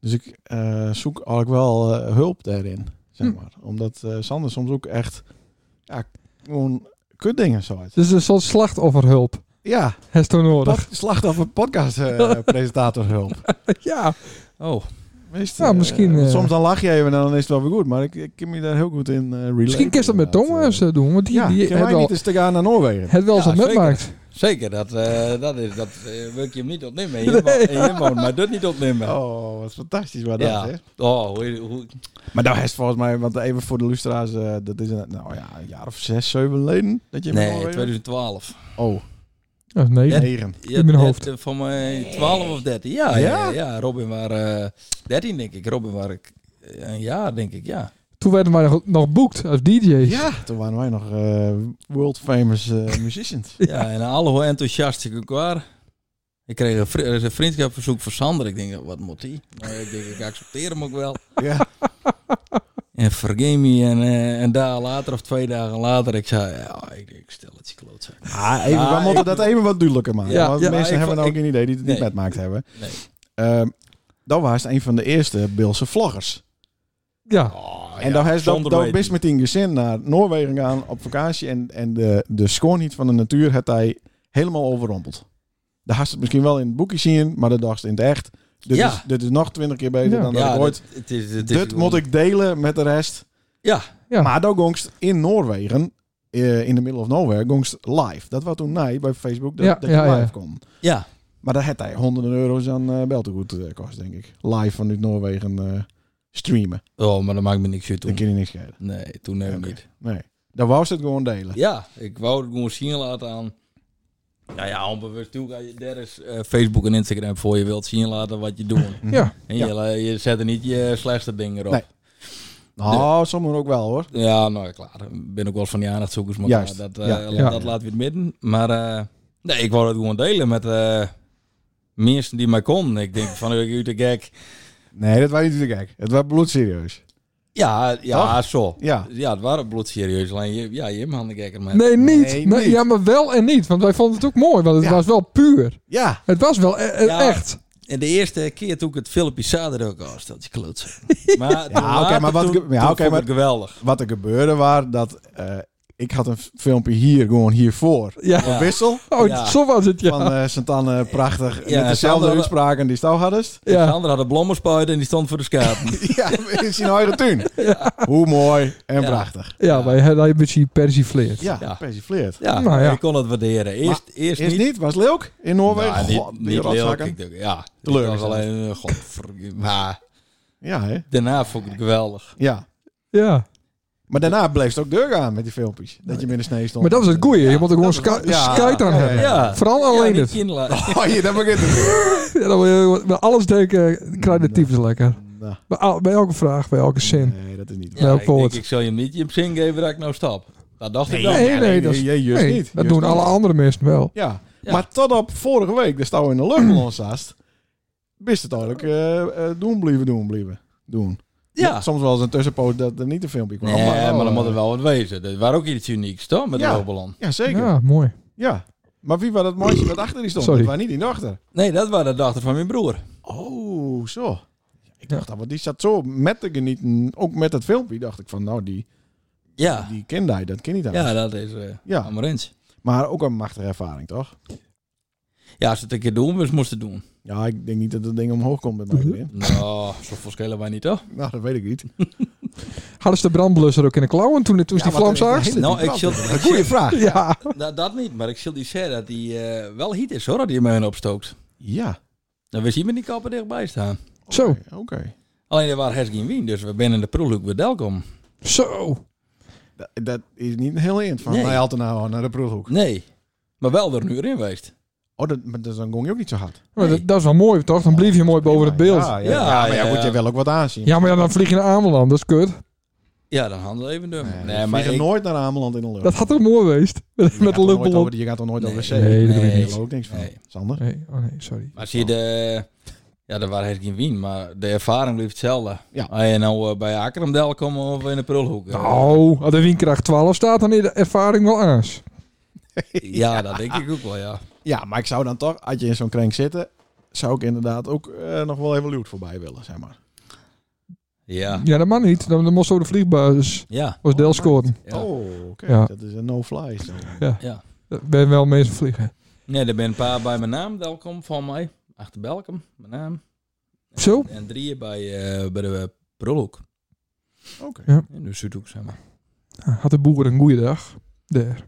Dus ik eh, zoek eigenlijk wel eh, hulp daarin, zeg
Hm.
maar. Omdat eh, Sander soms ook echt ja, gewoon kutdingen zo uit.
Dus een soort slachtofferhulp.
Ja,
Heeft toen nodig.
pod, slachtoffer podcast eh presentatorhulp.
Ja,
Oh,
Wist,
Ja,
eh,
misschien,
want
eh,
soms dan lach je even en dan is het wel weer goed. Maar ik, ik kan me daar heel goed in eh relaten.
misschien kun je dat met
inderdaad.
Thomas eh, doen, want die,
ja,
die
kan
heeft
wij
wel,
niet eens te gaan naar Noorwegen?
het wel eens
Ja,
wat
zeker.
metmaakt.
zeker, dat, eh, dat, is, dat eh, wil ik je hem niet opnemen. Je mo-
Nee.
en je mo- maar dat niet opnemen. Oh,
Oh, wat fantastisch waar
Ja.
dat is.
hoe, hoe,
Maar nou is volgens mij, want even voor de lustra's, eh, dat is een, nou ja, een jaar of zes, zeven leden dat je in
nee,
Noorwegen-
2012.
Oh,
Oh, nee.
negen.
Ja,
In mijn
het,
hoofd.
eh, Van mij 12 of 13. Ja, ja? ja, ja. Robin was eh 13, denk ik. Robin was ik eh, een jaar, denk ik, ja.
Toen werden wij nog, nog boekt als DJ's.
Ja, toen waren wij nog eh, world famous eh, musicians.
Ja, en alle hoe enthousiast ik ook was. Ik kreeg een, vri- eh, een vriendschapverzoek van Sander. Ik denk, wat moet die? Nou, ik denk, ik accepteer hem ook wel.
ja.
En vergeet me. En eh, een dag later of twee dagen later, ik zei, ja, ik denk, stel het je klootzak.
Ah, even, we
Ah,
moeten
ik-
dat even wat duidelijker maken.
Ja,
want
ja,
mensen
ik
hebben
vond-
nou ook geen idee die het niet
Nee.
metmaakt hebben.
Nee.
Ehm, dan was het een van de eerste Beelse vloggers.
Ja.
Oh, Ah,
En dan is
Sander
dat
weet
best met tien gezin naar Noorwegen gaan op vakantie. En, en de, de schoonheid van de natuur had hij helemaal overrompeld. Daar had je het misschien wel in het boekje zien, maar dat dacht je in het echt. Dit,
Ja.
is, dit is nog twintig keer beter
Ja.
dan dat
Ja,
ik ooit.
dit, het is, het is
Dit moet ik delen met de rest.
Ja.
Ja.
Maar dan gongst in Noorwegen, eh, in de middle of nowhere, gongst live. Dat was toen nij bij Facebook, dat,
Ja,
dat
ja,
je
ja.
live kon.
Ja,
Maar daar had hij honderden euro's aan eh beltegoed eh, kost, denk ik. Live vanuit Noorwegen eh, streamen.
oh, maar dat maakt me niks uit
Dan
toen.
kun je niks schelen.
Nee, toen nee,
Oké.
niet.
Nee. Dan wou ze het gewoon delen.
Ja, ik wou het gewoon zien laten aan. Nou ja, onbewust toe ga je. Daar is eh, Facebook en Instagram voor. Je wilt zien laten wat je doet.
Ja.
En
Ja.
je, la- je zet er niet je slechtste dingen op.
Nee. Nou, sommigen ook wel hoor.
Ja, nou ja, klaar. Ik ben ook wel van die aandachtzoekers. Maar
Juist.
dat, eh,
Ja,
la-
ja.
dat laat weer het midden. Maar eh, nee, ik wou het gewoon delen met eh mensen die mij konden. Ik denk van, ik de gek.
Nee, dat was niet te gek. Het was bloedserieus.
Ja, ja, zo.
Ja.
Ja, het waren bloedserieus. Alleen, je, ja, je man de gekker. Maar
Nee, niet.
Eh, Nee,
Nee,
niet.
Ja, maar wel en niet. Want wij vonden het ook mooi, want het
Ja.
was wel puur.
Ja.
Het was wel e- e-
Ja.
echt.
En de eerste keer toen ik het filmpje zag, dacht ik, oh, stel je klootzak. Maar ja,
oké, maar wat
toen,
ge- ja,
toen
oké,
vond ik
maar-
het geweldig.
Wat er gebeurde was dat eh, ik had een f- filmpje hier, gewoon hiervoor.
Ja.
Een wissel
Oh,
Ja.
zo was het, ja.
van eh Sint-Anne, prachtig.
Ja,
met dezelfde
Sander-
uitspraken die Stouw hadden.
Ja.
Ja. Sander had een blommenspuit en die stond voor de schapen.
ja, in zijn eigen tuin. Hoe mooi en
Ja.
prachtig.
ja, wij hebben een beetje persifleerd.
Ja,
Ja.
persifleerd.
ja,
Nou ja.
ik kon het waarderen. Eerst, eerst,
Is
niet.
niet, was leuk in Noorwegen.
Nou, niet-
God, die
niet leuk.
rotzakken.
Ik dacht, ja, ik
Teleurgesteld.
dacht alleen, eh, godver- maar
Ja, hè?
daarna vond ik het geweldig.
Ja.
Ja.
Maar daarna bleef het ook deur gaan met die filmpjes. Dat je met de snee stond.
Maar dat was het goeie. je moet er gewoon
dat is
sky,
wel- ja.
skype aan
Ja,
hebben.
Ja.
Vooral alleen
ja,
het.
die kindla-
Oh, je, dat begint het.
Ja, dan wil je wel alles denken, krijg je de tyfus lekker.
Nou.
Bij, al- bij elke vraag, bij elke zin.
Nee, dat is niet waar.
Ja,
Ja, ik, denk,
poort.
ik zal je hem niet je zin geven dat ik nou stap. Dat dacht ik dan.
Nee, nee,
nee,
dat, is-
nee, juist
nee,
niet,
dat
juist
doen
niet.
alle andere mensen wel.
Ja.
Ja.
maar tot op vorige week, daar staan we in de luchtballon zast, wist het eigenlijk eh, eh, doen blijven, doen blijven, doen.
Ja.
Soms wel eens een tussenpoos dat er niet een filmpje kwam.
Nee, maar dan
eh,
moet er wel wat wezen. Dat was ook iets unieks, toch? Met
Ja.
de Robeland.
Ja, zeker. Ja.
Ja, mooi.
Maar wie was dat meisje wat achter die stond?
Sorry.
Dat was niet die dochter.
Nee, dat was de dochter van mijn broer.
Oh, zo. Ik Ik dacht, ah, want die zat zo met te genieten. Ook met dat filmpje dacht ik van, nou, die,
Ja,
die kind hij, dat kind hij.
ja dat is eh
Ja.
Amarins.
Maar ook een machtige ervaring, toch?
Ja, als ze het een keer doen, we moesten doen.
Ja, ik denk niet dat dat ding omhoog komt bij mij
Mhm.
weer.
Nou, zoveel schelen wij niet, toch?
Nou, dat weet ik niet.
Hadden ze de brandblusser ook in de klauwen toen, toen ze die vlam zagen?
Nou, ik zult- ik
Goeie
zult-
vraag.
Ja.
Dat, dat niet, maar ik zal die zeggen dat die eh, wel heat is hoor, dat die mij opstookt. Nou,
Ja.
Dan wist iemand die kappen dichtbij staan.
Zo.
Oké, Oké.
Alleen er waren hes geen wien, dus we binnen in de proefhoek weer welkom.
Zo.
Dat- Dat is niet een heel eind van
Nee.
wij hadden nou naar de proefhoek.
Nee, maar wel er een uur in geweest.
Oh, dat, maar dat is dan gong je ook niet zo hard.
Maar
Nee.
dat, dat is wel mooi, toch? Dan blijf je mooi boven het beeld. Ja,
Ja, ja,
Ja,
ja, maar ja,
ja.
moet je wel ook wat aanzien.
maar ja, dan vlieg je naar Ameland. Dat is kut.
Ja, dan handel even door. Nee,
Nee, maar
maar
je
ik,
nooit naar Ameland in de lucht.
Dat had toch mooi geweest? Met,
Je gaat
met een
toch nooit
luchtballon.
over- Je gaat toch nooit
Nee.
over de zee?
Nee, dat doe ik
Nee.
Daar
niet.
geloof ik niks van.
Nee.
Sander?
Nee, oh nee, sorry.
maar zie je de... Ja, er waren hes geen wien, maar de ervaring blijft hetzelfde.
Ja.
Als je nou eh, bij Akermdel komt of in de prulhoek. eh,
Nou, als de Wienkracht 12 staat, dan is de ervaring wel aans.
Ja, dat denk ik ook wel, ja.
Ja, maar ik zou dan toch, als je in zo'n kring zitten, zou ik inderdaad ook eh, nog wel even luwt voorbij willen, zeg maar.
Ja,
Ja, dat mag niet. Dan, dan moest zo de vliegbasis
ja.
als deel scoren.
Ja.
Oh, oké.
Ja.
Dat is een no-fly zone.
Ik ben wel mensen vliegen.
Nee, er zijn een paar bij mijn naam, welkom van mij. Achter Belkom, mijn naam.
Zo?
En drieën bij, eh bij de prulhoek.
Oké.
Ja.
In de Zuidhoek, zeg maar.
Had de boer een goede dag. Daar.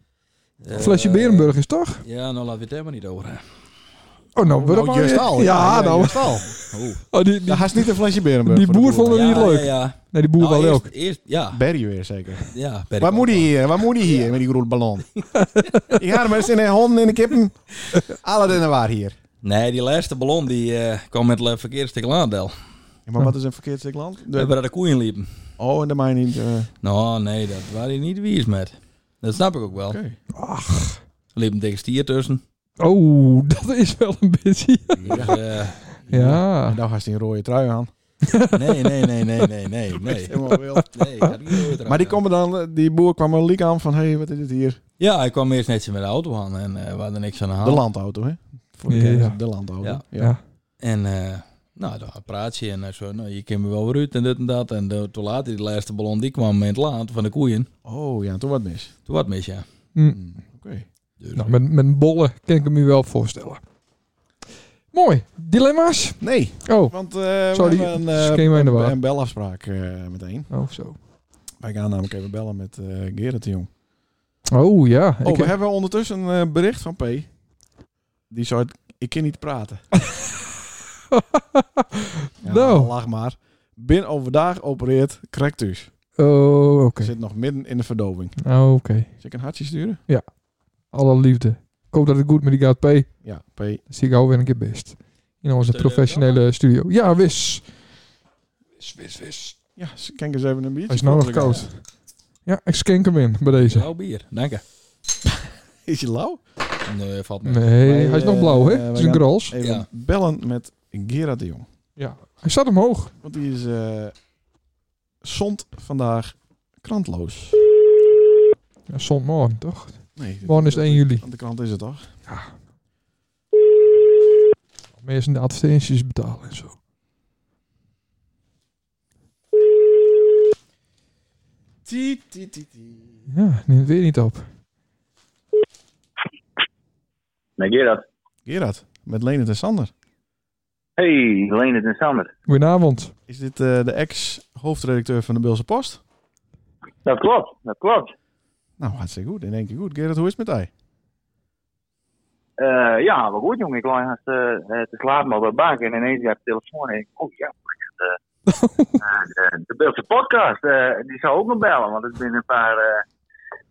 Eh,
Flesje Berenburg is toch?
Ja, nou laten we het helemaal niet over hebben.
Oh, nou, we
Nou, just al.
Ja, nou.
just al.
Oeh.
Oh, die, die,
Daar haast niet een flesje Berenburg.
Die
voor de
boer vond
boer.
het niet
ja,
leuk.
Ja, ja.
Nee, die boer
Nou,
wel
eerst,
ook.
Eerst, ja.
Berry weer zeker.
ja ben ik
Waar
ook
moet hij
wel.
hier? Waar moet hij hier met die grote ballon? ik ga hem eens in de honden en de kippen. Alle dingen waar hier.
Nee, die laatste ballon die eh, kwam met het verkeerde stuk aandeel.
Ja, maar wat is een verkeerd stuk land?
We hebben daar de koeien liepen.
Oh, en de mij niet. eh,
Nou, nee, dat waren die niet wies met. Dat snap ik ook wel.
Oké.
Nou.
Er liep een dikke stier tussen.
Oh, dat is wel een beetje.
Dus, eh,
Ja.
En nou haast hij een rode trui aan.
nee, nee, nee, nee, nee, nee. nee.
Helemaal wild.
Nee, dat niet nooit
Maar die,
eraan.
komen dan, eh, die boer kwam er liek aan van, hé, hey, wat is dit hier?
Ja, hij kwam eerst netjes met de auto aan en eh we hadden niks aan de hand.
De landauto, hè? Voor de,
Ah. Ja.
kennis, de landauto.
Ja.
Ja.
En eh, nou, dan praat je en hij zo, nou, je kent me wel weer uit en dit en dat. En de, toen later, die laatste ballon, die kwam in het laat van de koeien.
Oh ja, toen wat mis.
Toen wat mis, ja.
Hm.
Hmm, Oké.
Dus,
Nou, met, met een bolle kan ik hem u wel voorstellen. Mooi. Dilemma's?
Nee,
Oh.
want eh we
Sorry,
hebben een,
is
eh,
geen mij in de war.
een belafspraak eh, meteen.
Oh, zo.
Wij gaan namelijk even bellen met eh Gerrit de Jong.
Oh, ja.
Oh,
Ik
we
heb-
hebben ondertussen een eh, bericht van P. Die zei, ik kan niet praten. Ja,
Nou.
Lach maar. Bin overdag opereert Crectus.
Oh, oké.
Zit nog midden in de verdoving.
Oh, oké.
Zal ik een hartje sturen?
Alle liefde. Ik hoop dat het goed met die gaat, P. Dan
Ja, P. Oké.
zie ik alweer een keer best. In onze
Zullen we
professionele studio. Ja, wis. Wis, wis, wis.
Ja, kijk eens even een biertje.
Hij is nou nog koud. Ja, ik skenk hem in bij deze.
blauw bier, dank je.
Is je lauw?
Nee, valt mee.
Nee,
Wij,
hij is nog
eh,
blauw, hè?
wij
Het is een
gaan-
grols.
Even
Ja.
bellen met Gerard de Jong.
Ja. Hij staat omhoog.
Want die is eh zond vandaag krantloos.
Ja, zondmorgen, toch?
Nee, dit-
Morgen is het 1 juli.
Aan de krant is het toch?
Mensen de advertenties betalen en zo. Ja, neemt weer niet op.
Met Gerard.
Gerard, met Leonard en Sander.
Hey, Leendert en Sander.
Goedenavond.
Is dit eh, de ex-hoofdredacteur van de Beelse Post?
Dat klopt, dat klopt.
Nou, hartstikke goed. In één keer goed. Gerard, hoe is het met hij?
Eh, ja, maar goed jongen, ik lag haast, eh, eh, te slapen op de bank en ineens heb ik de telefoon en ik, oh ja, eh, eh, de Beeldse podcast, eh, die zou ook nog bellen, want het zijn een paar, eh,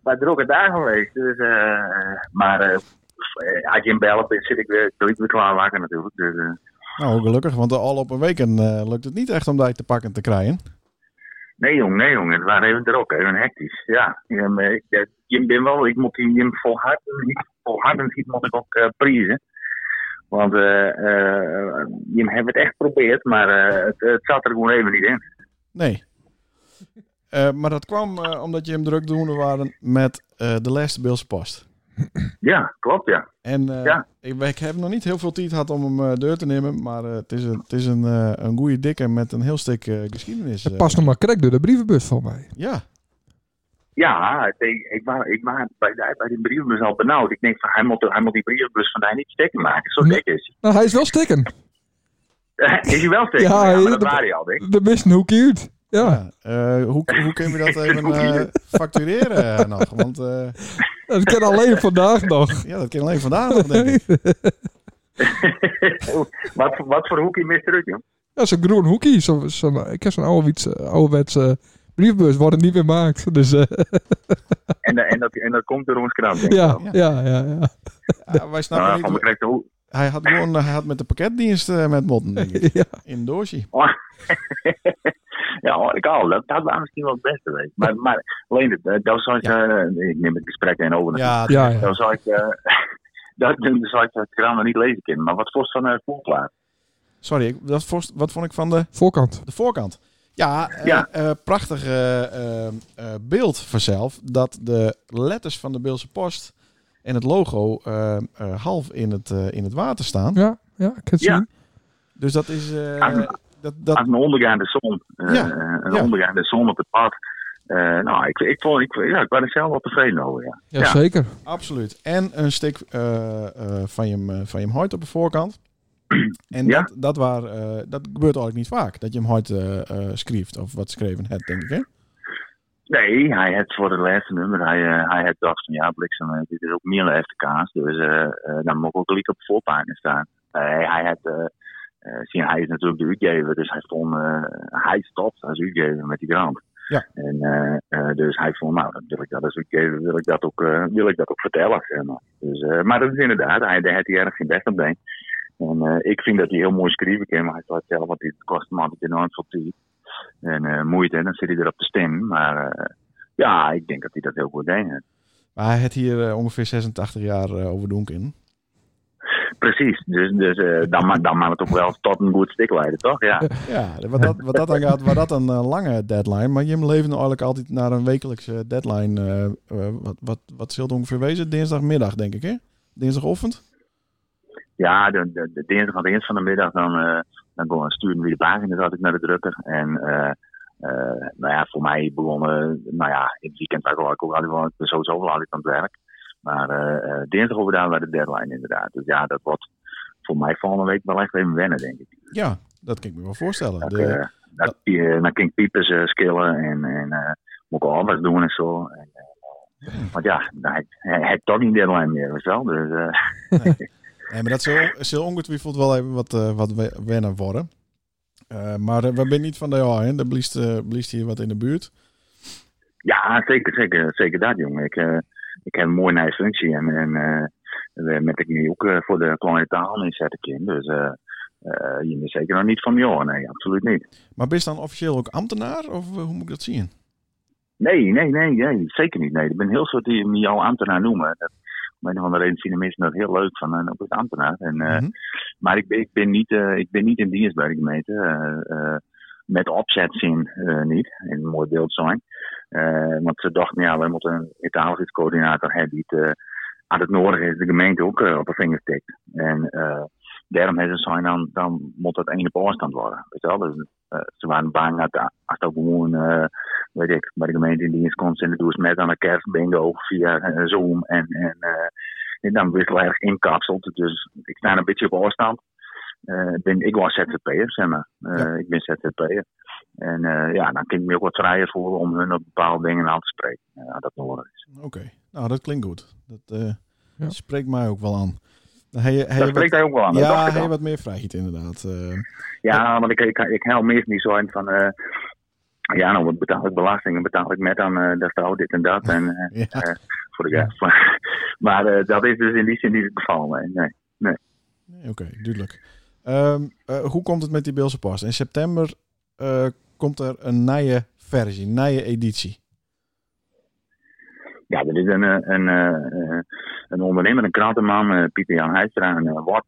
paar drukke dagen geweest. Dus, eh, maar eh, als je hem bellen bent, zit ik weer, wil ik weer klaarmaken natuurlijk. Dus, eh,
Nou, gelukkig, want al op een week en, eh, lukt het niet echt om die te pakken en te krijgen.
nee jong, nee jong, het waren even druk, even hectisch. Ja, je, eh, je, je bent wel, ik moet die- je volharden, volharden iets moet ik ook eh prijzen. Want eh, eh, je hebt het echt geprobeerd, maar eh, het, het zat er gewoon even niet in.
Nee. Eh, maar dat kwam eh, omdat je hem druk doende waren met eh, de laatste Beelse Post.
Ja, klopt, ja.
En eh,
Ja.
ik, ik heb nog niet heel veel tijd gehad om hem eh, deur te nemen. Maar eh, het is een, het is een, eh, een goede dikke met een heel stuk eh, geschiedenis.
Er
eh.
past nog maar krek door de brievenbus van mij.
Ja.
Ja, het- ik, ik, was, ik was bij, de- bij die brievenbus al benauwd. Ik denk van, hij moet, hij moet die brievenbus vandaag niet stikken maken. Zo
Nee.
dik is
Nou, hij is wel stikken.
hij. is hij wel stikken?
Ja,
Ja,
hij-
maar dat
de-
waren hij al, denk ik.
De mist, hoe cute. Ja,
ja. Eh, hoe, hoe kun je dat even eh, factureren eh, nog? Want eh,
dat kan alleen vandaag nog.
ja, dat kan alleen vandaag nog, denk ik.
wat, voor- wat voor hoekje mist eruit, joh?
Ja, zo'n groen hoekie. Zo, zo'n- ik heb zo'n ouderwets, ouderwetse brievenbus, wordt het niet meer gemaakt. Dus eh,
En, da- en, dat, en dat komt door ons krant, denk ik.
ja, ja, ja, ja.
Ja, Ah, wij
Nou,
snappen
van
niet.
me krijgt de hoe-
Hij had gewoon eh, hij had met de pakketdienst eh, met motten, denk ik.
ja.
In Doorsie.
ja, hoor ik al. Dat, dat was misschien wel het beste, weet je. Maar, maar alleen, het, eh, dat zou ik... eh, ik neem het gesprek in over.
Ja,
ja, ja.
Dan zou ik... eh, dat dan zou ik het krant nog niet lezen kunnen. Maar wat kost van een voorplaat?
sorry. ik- dat vorst- wat vond ik van de,
Voorkant.
de voorkant? Ja, eh,
Ja.
eh, prachtig eh, eh, eh, beeld vanzelf. Dat de letters van de Beelse Post en het logo eh, eh, half in het, eh, in het water staan.
Ja, ja, ik kan het
Ja.
zien.
Dus dat is... eh,
Ah,
dat, dat,
Als een ondergaande zon. eh,
Ja,
Een
ja.
ondergaande zon op het pad. Eh, nou, ik, ik, vond, ik, ja, ik was er zelf wel tevreden over, ja. Ja.
Jazeker.
Absoluut. En een stuk eh, eh, van je hem- van je hem hoort op de voorkant. En
Ja.
dat, dat, waar, eh, dat gebeurt eigenlijk niet vaak. Dat je hem hoort eh eh, schreef, of wat schreven het, denk ik. Hè?
Nee, hij had voor het laatste nummer, hij, eh, hij had dacht van ja, bliksem, eh, dit is ook meer echte kaas, dus eh eh, dan moet ik ook liek op de voorpagina staan. Eh, hij had, eh, eh, zie, hij is natuurlijk de uitgever, dus hij vond, eh, hij stopt als uitgever met die krant.
Ja.
En eh, eh, dus hij vond, nou, dan wil ik dat als uitgever, wil ik dat ook, eh, wil ik dat ook vertellen, zeg maar. Dus, eh, maar dat is inderdaad, hij, daar had hij erg geen best op deed. En eh, ik vind dat hij heel mooi schrijven kan, maar hij zal het zelf, want dit kost hem altijd enorm veel tijd. En eh, moeite, dan zit hij erop te stemmen. Maar eh, ja, ik denk dat hij dat heel goed deed.
Maar hij had hier eh, ongeveer 86 jaar eh, over doen kunnen.
Precies, dus, dus eh, dan, ma- dan maakt het ook wel tot een goed stuk leiden, toch? Ja,
Ja, wat dat, wat dat dan gaat, was dat een eh, lange deadline. Maar Jim leefde eigenlijk altijd naar een wekelijkse deadline. eh, eh, wat, wat, wat zult ongeveer wezen? Dinsdagmiddag, denk ik, hè? Dinsdagochtend?
ja de, de, de dinsdag aan het eind van de middag dan, eh dan gewoon sturen we de pagina's altijd naar de drukker. En eh, eh, nou ja, voor mij begonnen, nou ja, in het weekend was ik ook altijd wel, ik ben sowieso wel altijd aan het werk. Maar eh, eh, dinsdag overdag waren de deadline inderdaad. Dus ja, dat wordt voor mij volgende week wel echt even wennen, denk ik.
Ja, dat kan ik me wel voorstellen.
Dat,
De-
eh, dat, eh, dan kan ik piepers eh, skillen en, en eh, moet ik al wat doen en zo. En, eh, want ja, hij, hij, hij heeft toch niet deadline meer, weet je wel. Dus, eh,
Nee, maar dat zal, zal ongetwijfeld wel even wat, eh, wat we- wennen worden. Eh, maar eh, we zijn niet van de ja, hè? Er bliest, eh, bliest hier wat in de buurt.
ja, zeker, zeker, zeker dat, jongen. Ik, eh, ik heb een mooie nieuwe functie en, en eh, we- met ik nu ook eh, voor de kleine taal in zet ik in. Dus eh, eh, je bent zeker nog niet van joh, nee, absoluut niet.
Maar ben je dan officieel ook ambtenaar? Of eh, hoe moet ik dat zien?
Nee, nee, nee, nee, zeker niet. Nee, ik ben heel soort die me jouw ambtenaar noemen. Dat, om een of andere reden vinden mensen dat heel leuk van een op het ambtenaar. En, eh,
Mhm.
Maar ik ben, ik ben, niet, eh, ik ben niet in dienst bij de gemeente. eh, eh, met opzetzin eh, niet. In een mooi beeld zijn. Eh, want ze dachten, ja, we moeten een betalingscoördinator hebben die het, eh, aan het nodig is, de gemeente ook eh, op de vinger tikt. En eh, daarom hebben ze zijn dan, dan moet dat één op afstand worden. Weet je wel? Dus, eh, ze waren bang dat eh, als dat gewoon, eh, weet ik, bij de gemeente in dienst komt en dat doen ze met aan de kerstbingo via eh, Zoom en, en eh, en dan werd ik erg inkapseld. Dus ik sta een beetje op afstand. Eh, ik ben, ik was ZZP'er, zeg maar. Eh, Ik ben ZZP'er. En eh, ja, dan kan ik me ook wat vrijer voelen om hun op bepaalde dingen aan te spreken. eh, als dat nodig is.
Oké, nou dat klinkt goed. Dat eh,
Ja.
spreekt mij ook wel aan. Dan heb je- heb je
Dat
wat-
spreekt hij ook wel aan. dat
ja,
dacht ik
heb je
al.
wat meer vrijheid inderdaad. Eh,
Ja, want ik, ik, ik help meestal niet zo in van. eh, ja, nou, wat betaal ik belasting en betaal ik met aan eh dat vrouw dit en dat. En, eh,
ja.
voor de geld. Maar, maar, eh, dat is dus in die zin niet het geval. Nee. nee.
Nee, Oké, duidelijk. Ehm, eh, hoe komt het met die Beelse Post? In september eh, komt er een nieuwe versie, een nieuwe editie.
Ja, er is een, eh, een, eh, eh, een ondernemer, een krantenman, eh, Pieter Jan Huistra, een uh,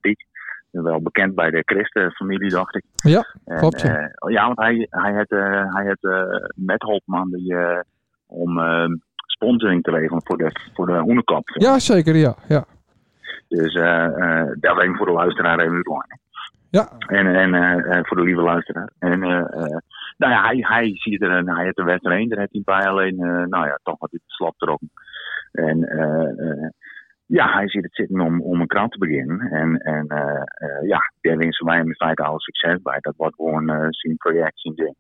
Wel bekend bij de christenfamilie, dacht ik.
Ja,
En,
klopt, ja.
eh, oh ja, want hij, hij had, eh, hij had eh, met Holtman die, eh, om eh sponsoring te regelen voor de, voor de hoenekap.
Ja, zeker, ja. Ja,
Dus eh, eh, dat even voor de luisteraar even lang.
ja.
En, en eh, eh, voor de lieve luisteraar. En, eh, eh, nou ja, hij, hij ziet er een, hij heeft er werd er een, daar heeft hij bij. Alleen, eh, nou ja, toch wat dit slap trokken. En eh, eh, ja, hij ziet het zitten om, om een krant te beginnen. En, en eh, eh, ja, daar wensen wij hem in feite al succes bij. Dat wordt gewoon eh, zijn project, zijn ding.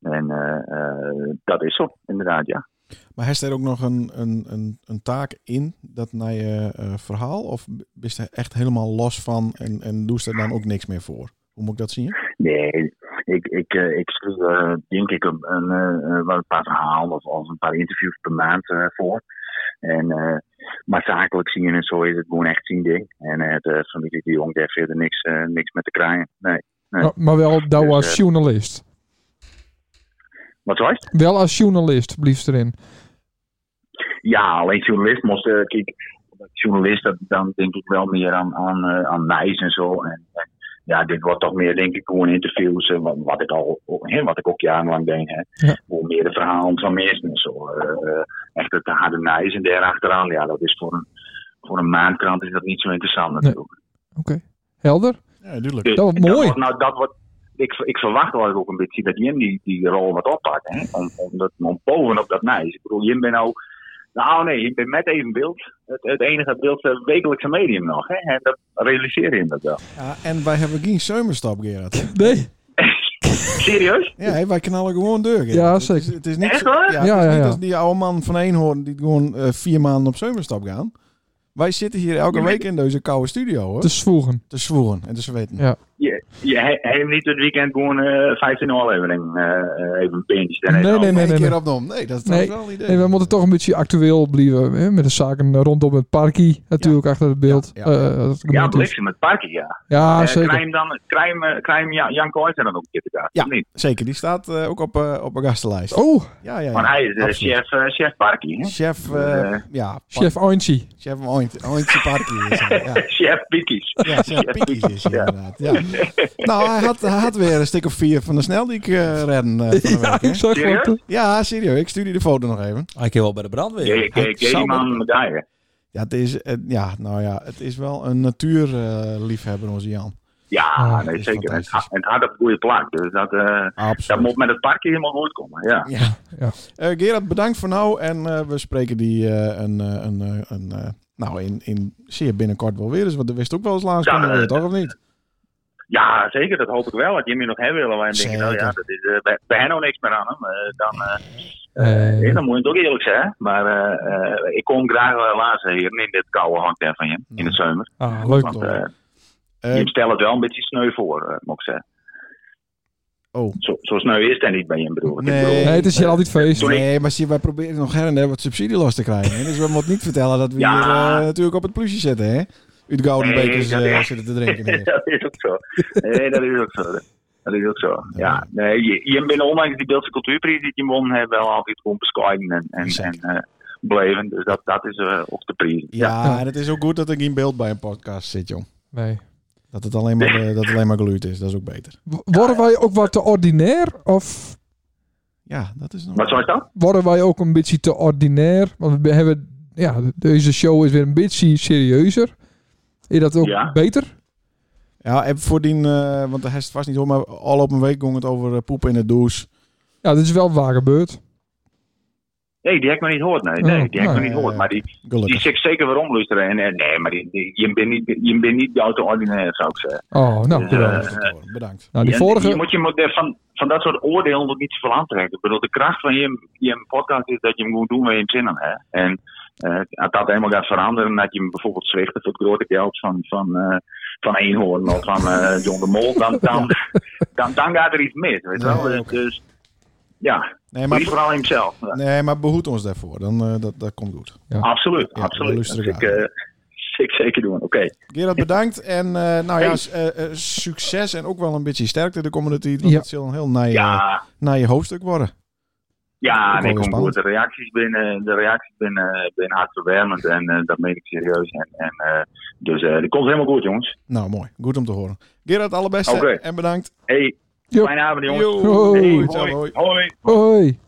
En eh, eh, dat is zo, inderdaad, ja.
Maar heeft er ook nog een, een, een, een taak in dat naar je eh, verhaal? Of is er echt helemaal los van en, en doe je er dan ook niks meer voor? Hoe moet ik dat zien?
Nee, ik, ik, eh, ik schreef eh, denk ik een, een, eh, eh, wel een paar verhalen of, of een paar interviews per maand eh, voor. En, eh, maar zakelijk zien en zo is het gewoon echt zien ding. En eh, de familie de Jong, daar heeft verder niks, eh, niks met te krijgen. Nee.
Maar, maar wel daar
Dus,
als
eh,
journalist.
Wat was het?
Wel als journalist, blieft erin.
Ja, alleen journalist moest. eh, kijk, journalist, dat, dan denk ik wel meer aan, aan, eh, aan Nijs en zo. En, eh, ja, dit wordt toch meer, denk ik, gewoon interviews. eh, wat, wat ik al, hè, wat ik ook jarenlang deed. Hè.
Ja.
Gewoon meer de verhalen van mensen en zo. Eh, eh, echt het harde Nijs en daarachteraan. Ja, dat is voor een, voor een maandkrant is dat niet zo interessant natuurlijk.
Oké. Helder?
Ja, duidelijk.
Dus
Dat wordt mooi.
wordt nou, dat wordt, ik, ik verwacht wel ook een beetje dat Jim die, die rol wat oppakt. Hè? Om, om, dat, om bovenop dat nijs. Ik bedoel, Jim ben nou... Nou nee, je bent met even beeld. Het, het enige beeld eh, wekelijkse medium nog. Hè? En dat realiseer je dat wel.
Ja, en wij hebben geen zomerstap, Gerard.
Nee.
Serieus?
Ja, hé, wij knallen gewoon deur. Gerard.
Ja,
Het is-
zeker.
Het is niet,
Echt
zo-
waar?
Ja, het
Ja,
is
ja,
niet
ja.
als die oude man van Eenhoorn die gewoon eh, vier maanden op zomerstap gaan. Wij zitten hier elke week in deze koude studio hoor.
Te zwoegen.
Te zwoeren en te zweten.
Dus- Ja.
Je, je he- heeft niet het weekend gewoon eh 15 aflevering eh eh, even een pinch. en
Nee,
even
nee,
al.
nee.
Eén keer
nee.
opnomen. Nee, dat is
Nee.
wel een idee.
Nee, we moeten toch een beetje actueel blijven. Hè? Met de zaken rondom het parkie. Natuurlijk achter het beeld.
Ja, ja, ja.
Eh, dat het
Ja,
gebeurd is.
bliksem met parken, ja.
Ja,
Eh,
zeker.
Krijm dan, krijm, eh, krijm Jan, Jan Kooijzer dan ook een keer te gast,
Ja.
of niet?
Zeker, die staat eh, ook op, eh, op een gastenlijst.
Oh,
Ja, ja, ja.
Want hij is eh,
Absoluut.
chef, eh, chef parkie, hè?
Chef, eh,
Eh.
ja, pa-
chef Ointje.
chef Oint, Ointje Parkie is hij, ja.
Chef Piekies.
Ja, chef Piekies is hij inderdaad. Ja. Nou, hij had, hij had weer een stuk of vier van de snel die ik eh redden eh, van de
Ja, ik
week, hè.
zag
Serieus?
wat.
Ja, serieus. Ik stuur je de foto nog even.
Hij kan wel bij de brandweer.
Ja, ik
Het
kijk
zou
die man
moeten.
met dijen.
Ja, het is, eh, ja, nou ja, het is wel een natuurliefhebber, eh, onze Jan.
Ah,
Ja,
dat
nee,
is
zeker. En het
fantastisch.
ha- en het had op een goede plak. Dus dat, eh, dat
Absoluut.
moet met het parkje helemaal goed komen. Ja.
Ja.
Ja.
Eh, Gerard, bedankt voor nou. En eh, we spreken die eh, een, eh, een, eh, een eh, nou, in, in zeer binnenkort wel weer eens. Want er wist ook wel eens laatst
Ja,
kunnen weer,
eh,
toch? Of niet?
ja, zeker. Dat hoop ik wel. Wat Jimmy nog hebben wil. En denk ik, nou
Zeker.
ja, dat is eh, bij, bij hen ook niks meer aan hem. Eh, dan, eh,
Eh,
eh, dan moet je het ook eerlijk zeggen. Maar eh, eh, ik kom graag wel laatst hier in dit koude hang daar van Jim. In de zomer.
Ah, leuk.
Want eh
Eh,
Jim stelt het wel een beetje sneu voor, eh, moet ik zeggen.
Oh.
Zo, zo sneu is het er niet bij Jim, bedoel ik. Ik
Nee.
bedoel,
Nee, het is hier altijd
eh,
feest.
Sorry.
Nee, maar zie, wij proberen nog her en der wat subsidie los te krijgen. Hè? Dus we moeten niet vertellen dat we
Ja.
hier eh, natuurlijk op het plusje zitten, hè? Uit gouden
Nee,
bekers
dat-
eh, zitten te drinken. Hier.
dat is ook zo. Nee, dat is ook zo. Dat is ook zo. Ja, nee, je, je bent ondanks die Beeldse cultuurprijs die je won hebt, wel altijd gewoon bescheiden en, en, en
Zeker.
eh, bleven. Dus dat, dat is eh, ook de prijs.
Ja, en het is ook goed dat er geen beeld bij een podcast zit, jong.
Nee.
Dat het alleen maar, eh, dat het alleen maar geluid is, dat is ook beter.
W- Worden wij ook wat te ordinair? Of
Ja, dat is nog.
Wat zou dat?
worden wij ook een beetje te ordinair? Want we hebben, ja, deze show is weer een beetje serieuzer. Is dat ook
Ja.
beter?
Ja, en voordien, eh want hij is het vast niet hoor, maar al op een week ging het over eh, poepen in de douche.
Ja, dit is wel waar gebeurd.
Nee, die heb ik nog niet gehoord. Nee, nee die heb ik nog
Oh, Nee.
niet gehoord. Maar die, die
Gelukkig.
zit zeker waarom luisteren. En, eh, nee, maar die, die, je bent niet, je bent niet jou te ordinair, zou ik zeggen.
Oh, nou,
Ja.
geweldig.
Bedankt.
nou die
Ja, Je
vorige...
moet je moet, eh, van, van dat soort oordelen moet niet zoveel aantrekken. Ik bedoel, de kracht van je, je podcast is dat je hem moet doen waar je hem zin aan hebt. En eh, als dat helemaal gaat veranderen, dat je hem bijvoorbeeld zwichten voor het grote geld van, van, eh van Eenhoorn of van eh, John de Mol, dan, dan, dan, dan gaat er iets mis. Weet je wel?
Nee,
Dus-
oké.
Dus ja,
Nee,
maar
maar,
vooral hemzelf. Ja,
nee, maar behoed ons daarvoor. Dan, eh, dat, dat komt goed.
Absoluut,
Ja, we
absoluut.
luisteren
Dat ik,
graag.
eh, ik zeker doen. Oké,
Gerard, bedankt. En eh, nou ja,
Hey.
s- eh, eh, succes en ook wel een beetje sterkte de komende tijd. Want
Ja.
het zal een heel naar je,
ja.
naar je hoofdstuk worden.
Ja,
Ook
nee,
wel
kom
weer
goed. De reacties binnen, de reacties binnen, binnen hartverwarmend en eh, dat meen ik serieus. En, en, eh, dus eh dat komt helemaal goed, jongens.
Nou, mooi. Goed om te horen. Gerard, alle beste
Oké.
en bedankt.
Hey,
Jo.
fijne avond, jongens.
Yo.
Hoi.
Hey,
Ciao, hoi.
hoi. hoi.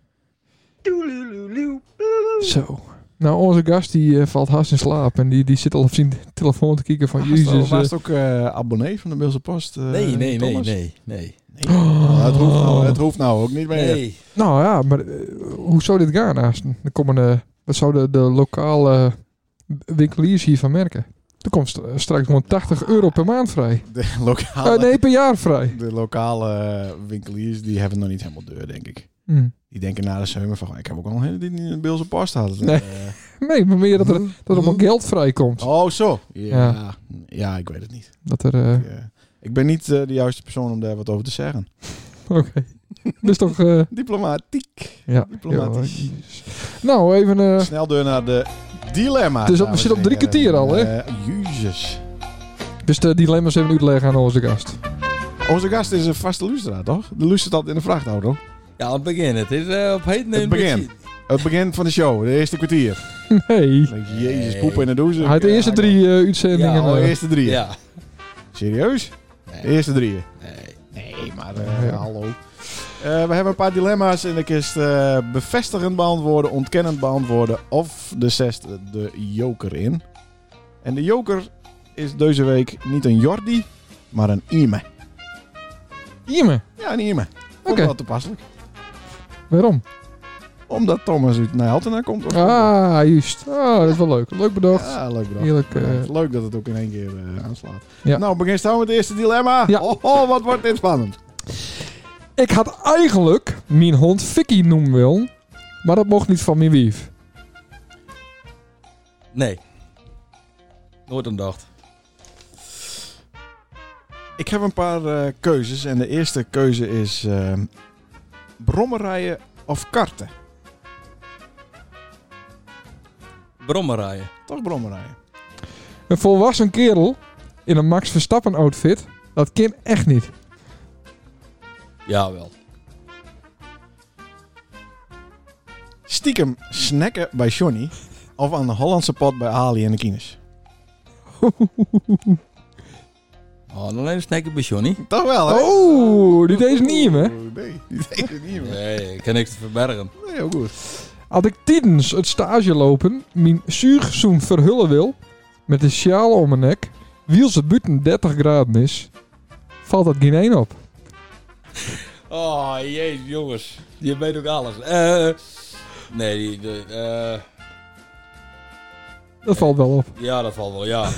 Hoi. Zo. Nou, onze gast die eh, valt hard in slaap en die, die zit al op zijn telefoon te kijken van
Ah, was het-
Jezus. eh,
was het ook eh, abonnee van de Beelse Post? eh,
Nee, nee, nee,
Thomas?
nee, nee.
Oh, het, hoeft nou, het hoeft nou ook niet meer.
Nee.
Nou ja, maar eh, hoe zou dit gaan? Haast? Er komen, eh, wat zouden de lokale winkeliers hiervan merken? Er komt st- eh, straks gewoon 80 euro per maand vrij.
De
Eh,
lokale,
nee, per jaar vrij.
de lokale eh, winkeliers die hebben nog niet helemaal deur, denk ik.
Hm.
Die denken na de zomer van, ik heb ook al een hele die in de Beelse Post had.
Nee. Nee, maar meer dat er, dat er allemaal geld vrijkomt.
Oh, zo. Ja,
Ja.
ja. ik weet het niet.
Dat er... eh,
Ik, eh, ik ben niet eh, de juiste persoon om daar wat over te zeggen.
Oké. Dat is toch... eh,
Diplomatiek.
ja.
Diplomatisch.
joh, jezus. nou, even... eh,
Snel door naar de dilemma.
Het is op-
dames
we zitten
en
op drie
heren.
kwartier al, hè?
Eh, Jezus.
dus de dilemma's even uitleggen aan onze gast.
Onze gast is een vaste luisteraar, toch? De luistert altijd in de vrachtauto.
Ja, aan het begin. Het is eh, op heet neemt
Het begin. Het begin van de show, de eerste kwartier.
Nee.
Dan denk je, Jezus,
Nee.
poep in de douche.
Hij had de
Ja,
eerste
ik-
drie eh,
Ja,
uitzendingen.
Oh, de
eh,
eerste drie.
Ja.
Serieus? De eerste drieën.
Nee.
Nee, maar eh,
Ja.
hallo. Eh, we hebben een paar dilemma's in de kist. eh, bevestigend beantwoorden, ontkennend beantwoorden of de zesde, de joker in. En de joker is deze week niet een Jordi, maar een Ime.
Iemen.
Ja, een Ime. Oké.
Oké.
wel toepasselijk.
Waarom?
Omdat Thomas uit Nijltena komt. of-
Ah, juist. Ah, dat is wel leuk. Leuk bedacht.
Ja, leuk bedacht.
Heerlijk. eh,
Ja, leuk dat het ook in één keer eh, aanslaat.
Ja.
Nou, begin staan met het eerste dilemma.
Ja.
Oh, oh, wat wordt dit spannend.
Ik had eigenlijk mijn hond Vicky noemen willen, maar dat mocht niet van mijn wief.
Nee. Nooit aan dacht.
Ik heb een paar eh, keuzes. En de eerste keuze is... eh, brommerrijden of karten?
Brommen rijden.
Toch brommerrijden?
Een volwassen kerel in een Max Verstappen outfit, dat kind echt niet.
Jawel.
Stiekem snacken bij Johnny... of aan de Hollandse pot bij Ali en de Kines?
Oh, dan alleen een snackje bij Johnny.
Toch wel, hè?
Oh, die deed niet hè?
Oh, Nee, die deze niet meer.
Nee, ik kan niks te verbergen.
Nee, heel goed.
Had ik tijdens het stage lopen mijn zuurgezoen verhullen wil, met een sjaal om mijn nek, wiels het buiten 30 graden is, valt dat geen één op.
Oh, jezus, jongens. Je weet ook alles. Eh, nee, die, die- eh,
Dat valt wel op.
ja, dat valt wel, ja.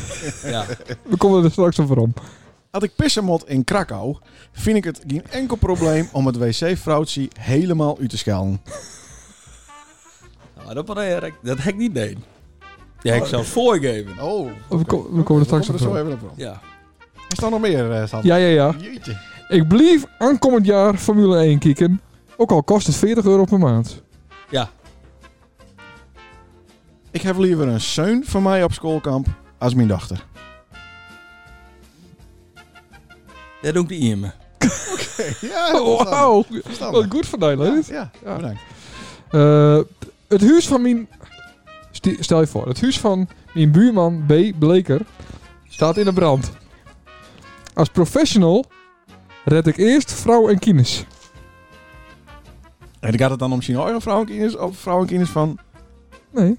ja.
We komen er straks over om.
Had ik pissen mot in Krakau, vind ik het geen enkel probleem om het wc-vrouwtje helemaal uit te schelden.
Nou, dat, had ik- dat heb ik niet deed. Ja, ik zou het voorgeven.
Oh.
We, ko- we komen er straks
er
over
zo
om.
even op. aan.
Ja.
Is er nog meer, eh Sander?
Ja, ja, ja.
Jeetje.
Ik blijf aankomend jaar Formule 1 kieken. Ook al kost het 40 euro per maand.
Ja.
Ik heb liever een zeun van mij op schoolkamp als mijn dochter.
Dat doe ik de IME.
Ja,
Oh, wauw. Wat
Verstandig.
goed van jou, Leonard.
Ja,
Ja.
bedankt.
Eh, t- het huis van mijn... Sti- Stel je voor, het huis van mijn buurman B. Bleker staat in de brand. Als professional red ik eerst vrouw en kines.
En gaat het dan om China vrouwenkinders of vrouwenkinders van...
Nee.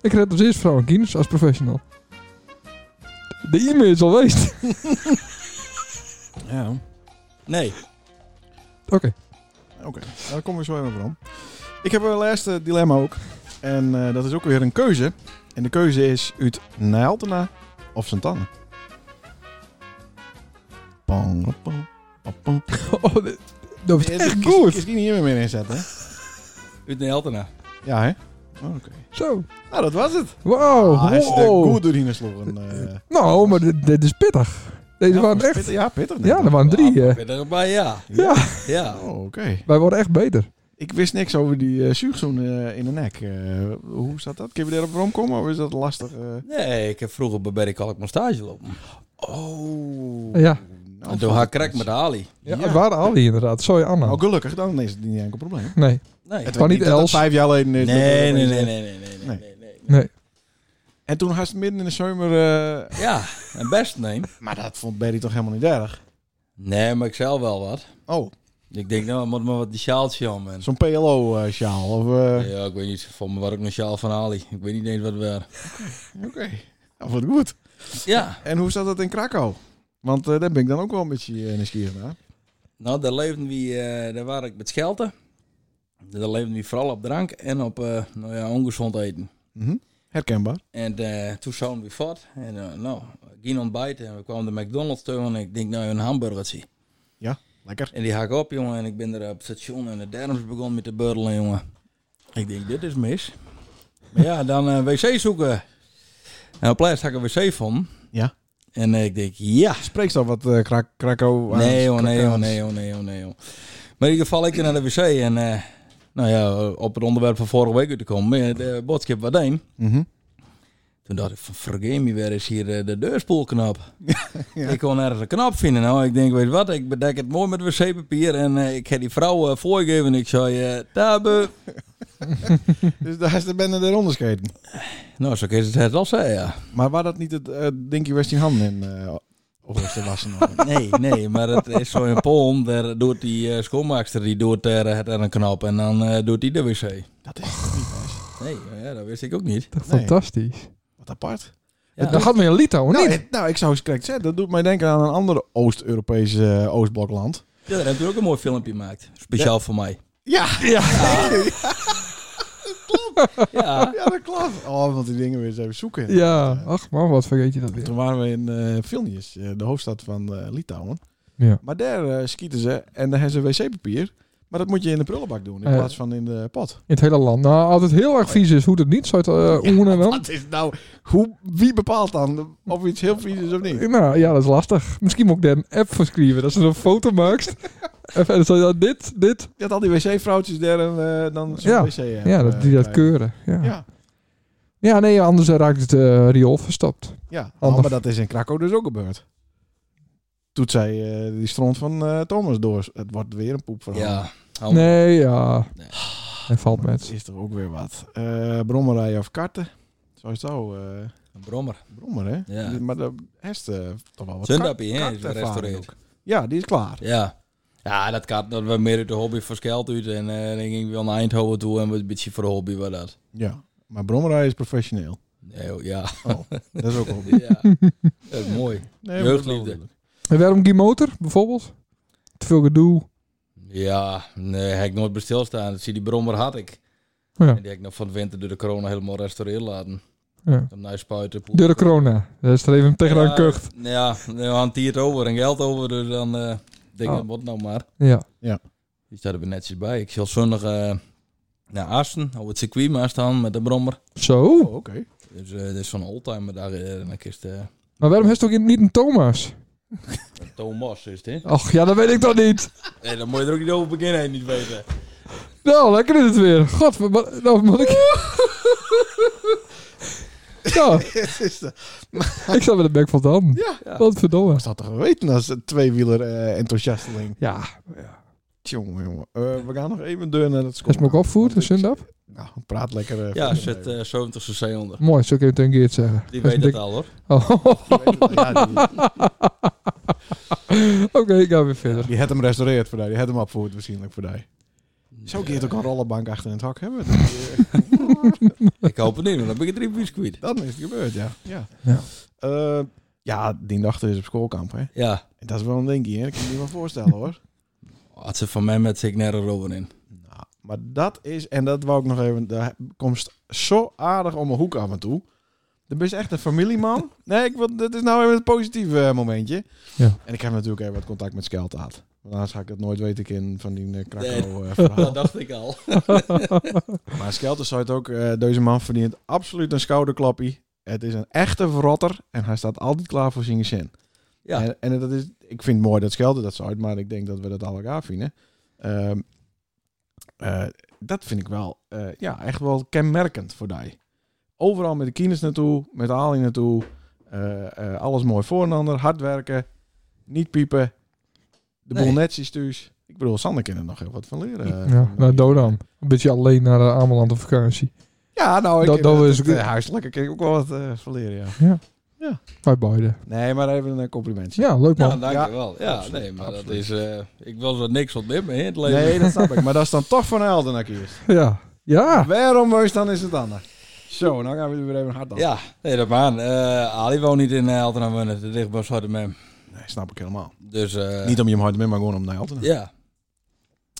Ik red dus eerst vrouw en kines als professional. De e-mail is al geweest.
Ja,
Nee.
Oké.
oké. Nou, Daar komen we zo even om. Ik heb een laatste dilemma ook. En eh, dat is ook weer een keuze. En de keuze is uit Nijltena of Santana. Pong, pong, pong, pong.
Oh, dit- dat was
Eh,
echt
kies-
goed.
Kies die niet hier meer inzetten, hè?
Uit de Heltena.
Ja, hè? Oké.
Zo.
Nou, dat was het.
Wauw.
Ah, hij is de
wow.
goed doorheen geslogen. eh.
Nou, maar dit, dit is pittig. Deze
Ja,
waren
was
echt...
pittig- Ja, pittig. net.
Ja, er waren drie.
Ah,
eh.
Ik ben erbij, ja.
Ja.
Ja.
Oh, oké.
Wij worden echt beter.
Ik wist niks over die eh, zuigzoen eh, in de nek. Eh, hoe staat dat? Kun je daarop rondkomen of is dat lastig? eh?
Nee, ik heb vroeger bij Berry Kalk mijn stage lopen.
Oh.
Ja.
Nou,
En toen had ik krek met Ali.
Ja, Het waren al die inderdaad. Sorry, Anna.
Nou, gelukkig, dan is het niet enkel probleem.
Nee.
Nee.
was niet
dat
Els.
het vijf jaar geleden is.
Nee,
dat het
nee, nee,
ineens-
nee, nee, nee, nee, nee, nee.
Nee.
En toen had ze midden in de zomer... eh,
Ja, en best neem.
maar dat vond Berry toch helemaal niet erg?
Nee, maar ik zelf wel wat.
Oh.
Ik denk, nou, moet maar wat die sjaaltje om. En...
Zo'n PLO-sjaal. of eh,
Ja, ik weet niet. Voor me was ook een sjaal van Ali. Ik weet niet eens wat we waren.
Oké, nou, wat goed.
Ja,
En hoe staat dat in Krakau? Want eh, daar ben ik dan ook wel een beetje uh, nieuwsgierig naar.
nou, daar leefden we, eh, daar waren ik met Schelten. Daar leefden we vooral op drank en op, eh, nou ja, ongezond eten.
Mhm. Herkenbaar.
En eh, toen zouden we voort. En eh, nou, we gingen ontbijten en we kwamen de McDonald's toe en ik denk, nou, een hamburgertje.
Lekker.
En die haak op, jongen. En ik ben er op het station en de derms begon met te burlen, jongen. Ik denk, dit is mis. Maar ja, dan eh, wc zoeken. En op plaats had ik een wc van.
Ja.
En eh, ik denk, ja.
Spreekt al wat eh Krak Krakau?
Nee, joh, nee, joh, nee, joh, nee, joh, nee, joh. Maar in ieder geval, ik naar de wc en... eh, nou ja, op het onderwerp van vorige week weer te komen. eh, De boodschap wat een.
Mhm.
Toen dacht ik van, vergeet me, waar is hier eh, de deurspoelknop? Ik kon ergens een knap vinden. Nou, ik denk, weet je wat, ik bedek het mooi met wc-papier. En eh, ik heb die vrouw eh, voorgegeven. Ik zei, eh, tabe.
Dus daar is de bende eronder skaten.
Nou, zo is het het al zei, ja.
Maar waar dat niet het eh, Dinky West in handen in? eh, of was de wassen nog?
Nee, nee, maar het is zo'n poem. Daar doet die eh, schoonmaakster, die doet er het aan een knop. En dan eh, doet die de wc.
Dat is toch niet best.
Nee, nou ja, dat wist ik ook niet.
Toch
Nee.
fantastisch.
Wat apart.
Ja.
Dat had me in Litouwen
Nou,
niet.
eh, nou, ik zou eens correct zeggen. Dat doet mij denken aan een ander Oost-Europese eh, Oostblokland.
Ja, daar heb je ook een mooi filmpje gemaakt. Speciaal voor mij.
Ja, ja.
Ja.
ja, dat klopt. Oh, want die dingen weer eens even zoeken.
Ja, ach man, wat vergeet je dat weer.
Toen waren we in eh Vilnius, eh, de hoofdstad van eh, Litouwen.
Ja.
Maar daar eh, schieten ze en daar hebben ze wc-papier. Maar dat moet je in de prullenbak doen in
Ja.
plaats van in de pot.
In het hele land. Nou, altijd heel erg vies is hoe dat niet zou eh oen en dan.
Wat is nou, hoe, wie bepaalt dan of iets heel vies is of niet?
Nou ja, dat is lastig. Misschien moet ik daar een app voor schrijven. Dat ze zo'n foto maakt. en verder zo, ja, dit, dit.
Dat al die wc-vrouwtjes daar en eh, dan zo'n
Ja.
wc hebben,
Ja, dat, die
eh,
dat
bij.
keuren. Ja. Ja.
Ja,
nee, anders raakt het eh, riool verstopt.
ja. Nou,
Handig.
maar dat is in Krakau dus ook gebeurd. Toen zei eh, die stront van eh, Thomas door, het wordt weer een poep
Ja. Oh,
Nee, ja.
Nee.
Hij valt
Het
met.
is toch ook weer wat. Eh brommerij of karten. Zo is het al. eh,
Een brommer.
Brommer, hè?
Ja.
Die- Maar de heeft eh, toch wel wat
Zundappie, hè,
kar-
is weer
kartervaring
gerestaureerd.
ook. Ja, die is klaar.
Ja. Ja, dat kan. Dat was meer uit de hobby voor Skelt uit. En eh, dan ging ik wel naar Eindhoven toe en was een beetje voor de hobby was dat.
Ja. Maar Brommerij is professioneel.
Nee, oh, ja.
Dat is ook wel... Nee,
ja. Dat is mooi.
maar
Jeugdliefde.
dat is wel
En waarom die motor, bijvoorbeeld? Te veel gedoe.
Ja, nee, heb ik nooit bij stilstaan. Zie die brommer had ik.
Ja.
En die heb ik nog van de winter door de corona helemaal restaureerd laten.
Ja.
Dan naar spuiten. poep.
Door de corona. Daar is er even tegenaan
Ja,
kucht.
Ja, nou, hanteert over en geld over. Dus dan eh denk ik,
Oh.
dat moet nou maar.
Ja.
Die staat er netjes bij. Ik zal zondag eh, naar Assen, op het circuit maar staan met de brommer.
Zo.
Oh, oké.
Dus eh dit is zo'n oldtimer daar. eh, en dan is het, eh,
Maar waarom heeft het ook niet een Thomas?
Thomas is het, hè?
Ach ja, dat weet ik toch niet.
Nee, dan moet je er ook niet over beginnen, hè, niet weten.
Nou, lekker is het weer. God, wat- wat- nou moet ik... ja,
Het is de-
ik zat met de bek van Dam.
Ja.
Wat verdomme.
Dat had toch geweten als een tweewieler eh, enthousiasteling.
Ja,
Tjonge, jongen. Eh, we gaan nog even deur naar het
als me ook opvoert, een sundap.
Nou, praat lekker. eh,
Ja,
verder
zet
even.
eh 70 cc onder.
Mooi, zo kun je het tegen Geert zeggen.
Die
Dat is
weet het
dik-
al, hoor.
Oh,
Ja, die,
Oké, ik ga weer verder.
die had hem restaureerd voor die. Die had hem opvoerd waarschijnlijk voor die. Zou ik hier ook een rollenbank achter in het hak hebben? Dat die, eh,
Ik hoop het niet, want dan ben ik drie biscuit.
Dan is het gebeurd, ja. Ja,
Ja.
Eh, ja die nacht is op schoolkamp, hè.
Ja,
Dat is wel een dingetje, hè? Dat kan je me wel voorstellen, hoor.
had ze van mij met zich nergens over in.
Nou, maar dat is, en dat wou ik nog even, daar komt zo aardig om een hoek af en toe. Dan ben je echt een familieman. Nee, ik, wil- dit is nou even het positieve eh, momentje.
Ja.
En ik heb natuurlijk even wat contact met Skelt gehad. Want anders ga ik het nooit weten in van die eh, Krakau
Nee.
eh, verhaal.
Dat dacht ik al.
Maar Skelter zei het ook, eh, deze man verdient absoluut een schouderklappie. Het is een echte verrotter en hij staat altijd klaar voor zijn zin.
Ja.
En, en dat is, ik vind het mooi dat Skelter dat zei, maar ik denk dat we dat al elkaar vinden. Ehm, eh, dat vind ik wel eh, ja, echt wel kenmerkend voor die. Overal met de kines naartoe, met de haling naartoe. eh, eh, alles mooi voor een ander, hard werken, niet piepen. De
Nee.
boel netjes dus. Ik bedoel, Sander kan er nog heel wat van leren. eh,
Ja, nou,
van
naar
die-
Dodam. Een beetje alleen naar eh, Ameland op vakantie.
ja, nou, ik,
Dat- dat
eh,
is
het,
ook-
eh, huiselijk. Ik kan ook wel wat eh, verleren, ja.
Ja. Bij beide.
Nee, maar even een complimentje.
Ja, leuk man.
Ja, dankjewel. Ja,
absoluut,
nee, maar dat
absoluut.
is... eh, ik wil zo niks op dit in het leven.
Nee, dat snap ik. Maar dat is dan toch van Elden naar kiest.
Ja. Ja.
Waarom was dan is het anders? Zo, nou gaan we er weer even hard aan.
Ja, nee, dat maar. Eh, Ali woont niet in Elten aan Wennen. Het ligt bij Zwartemem.
Nee, snap ik helemaal.
Dus... eh,
Niet om je hem hard mee, maar gewoon om naar Elden.
Ja,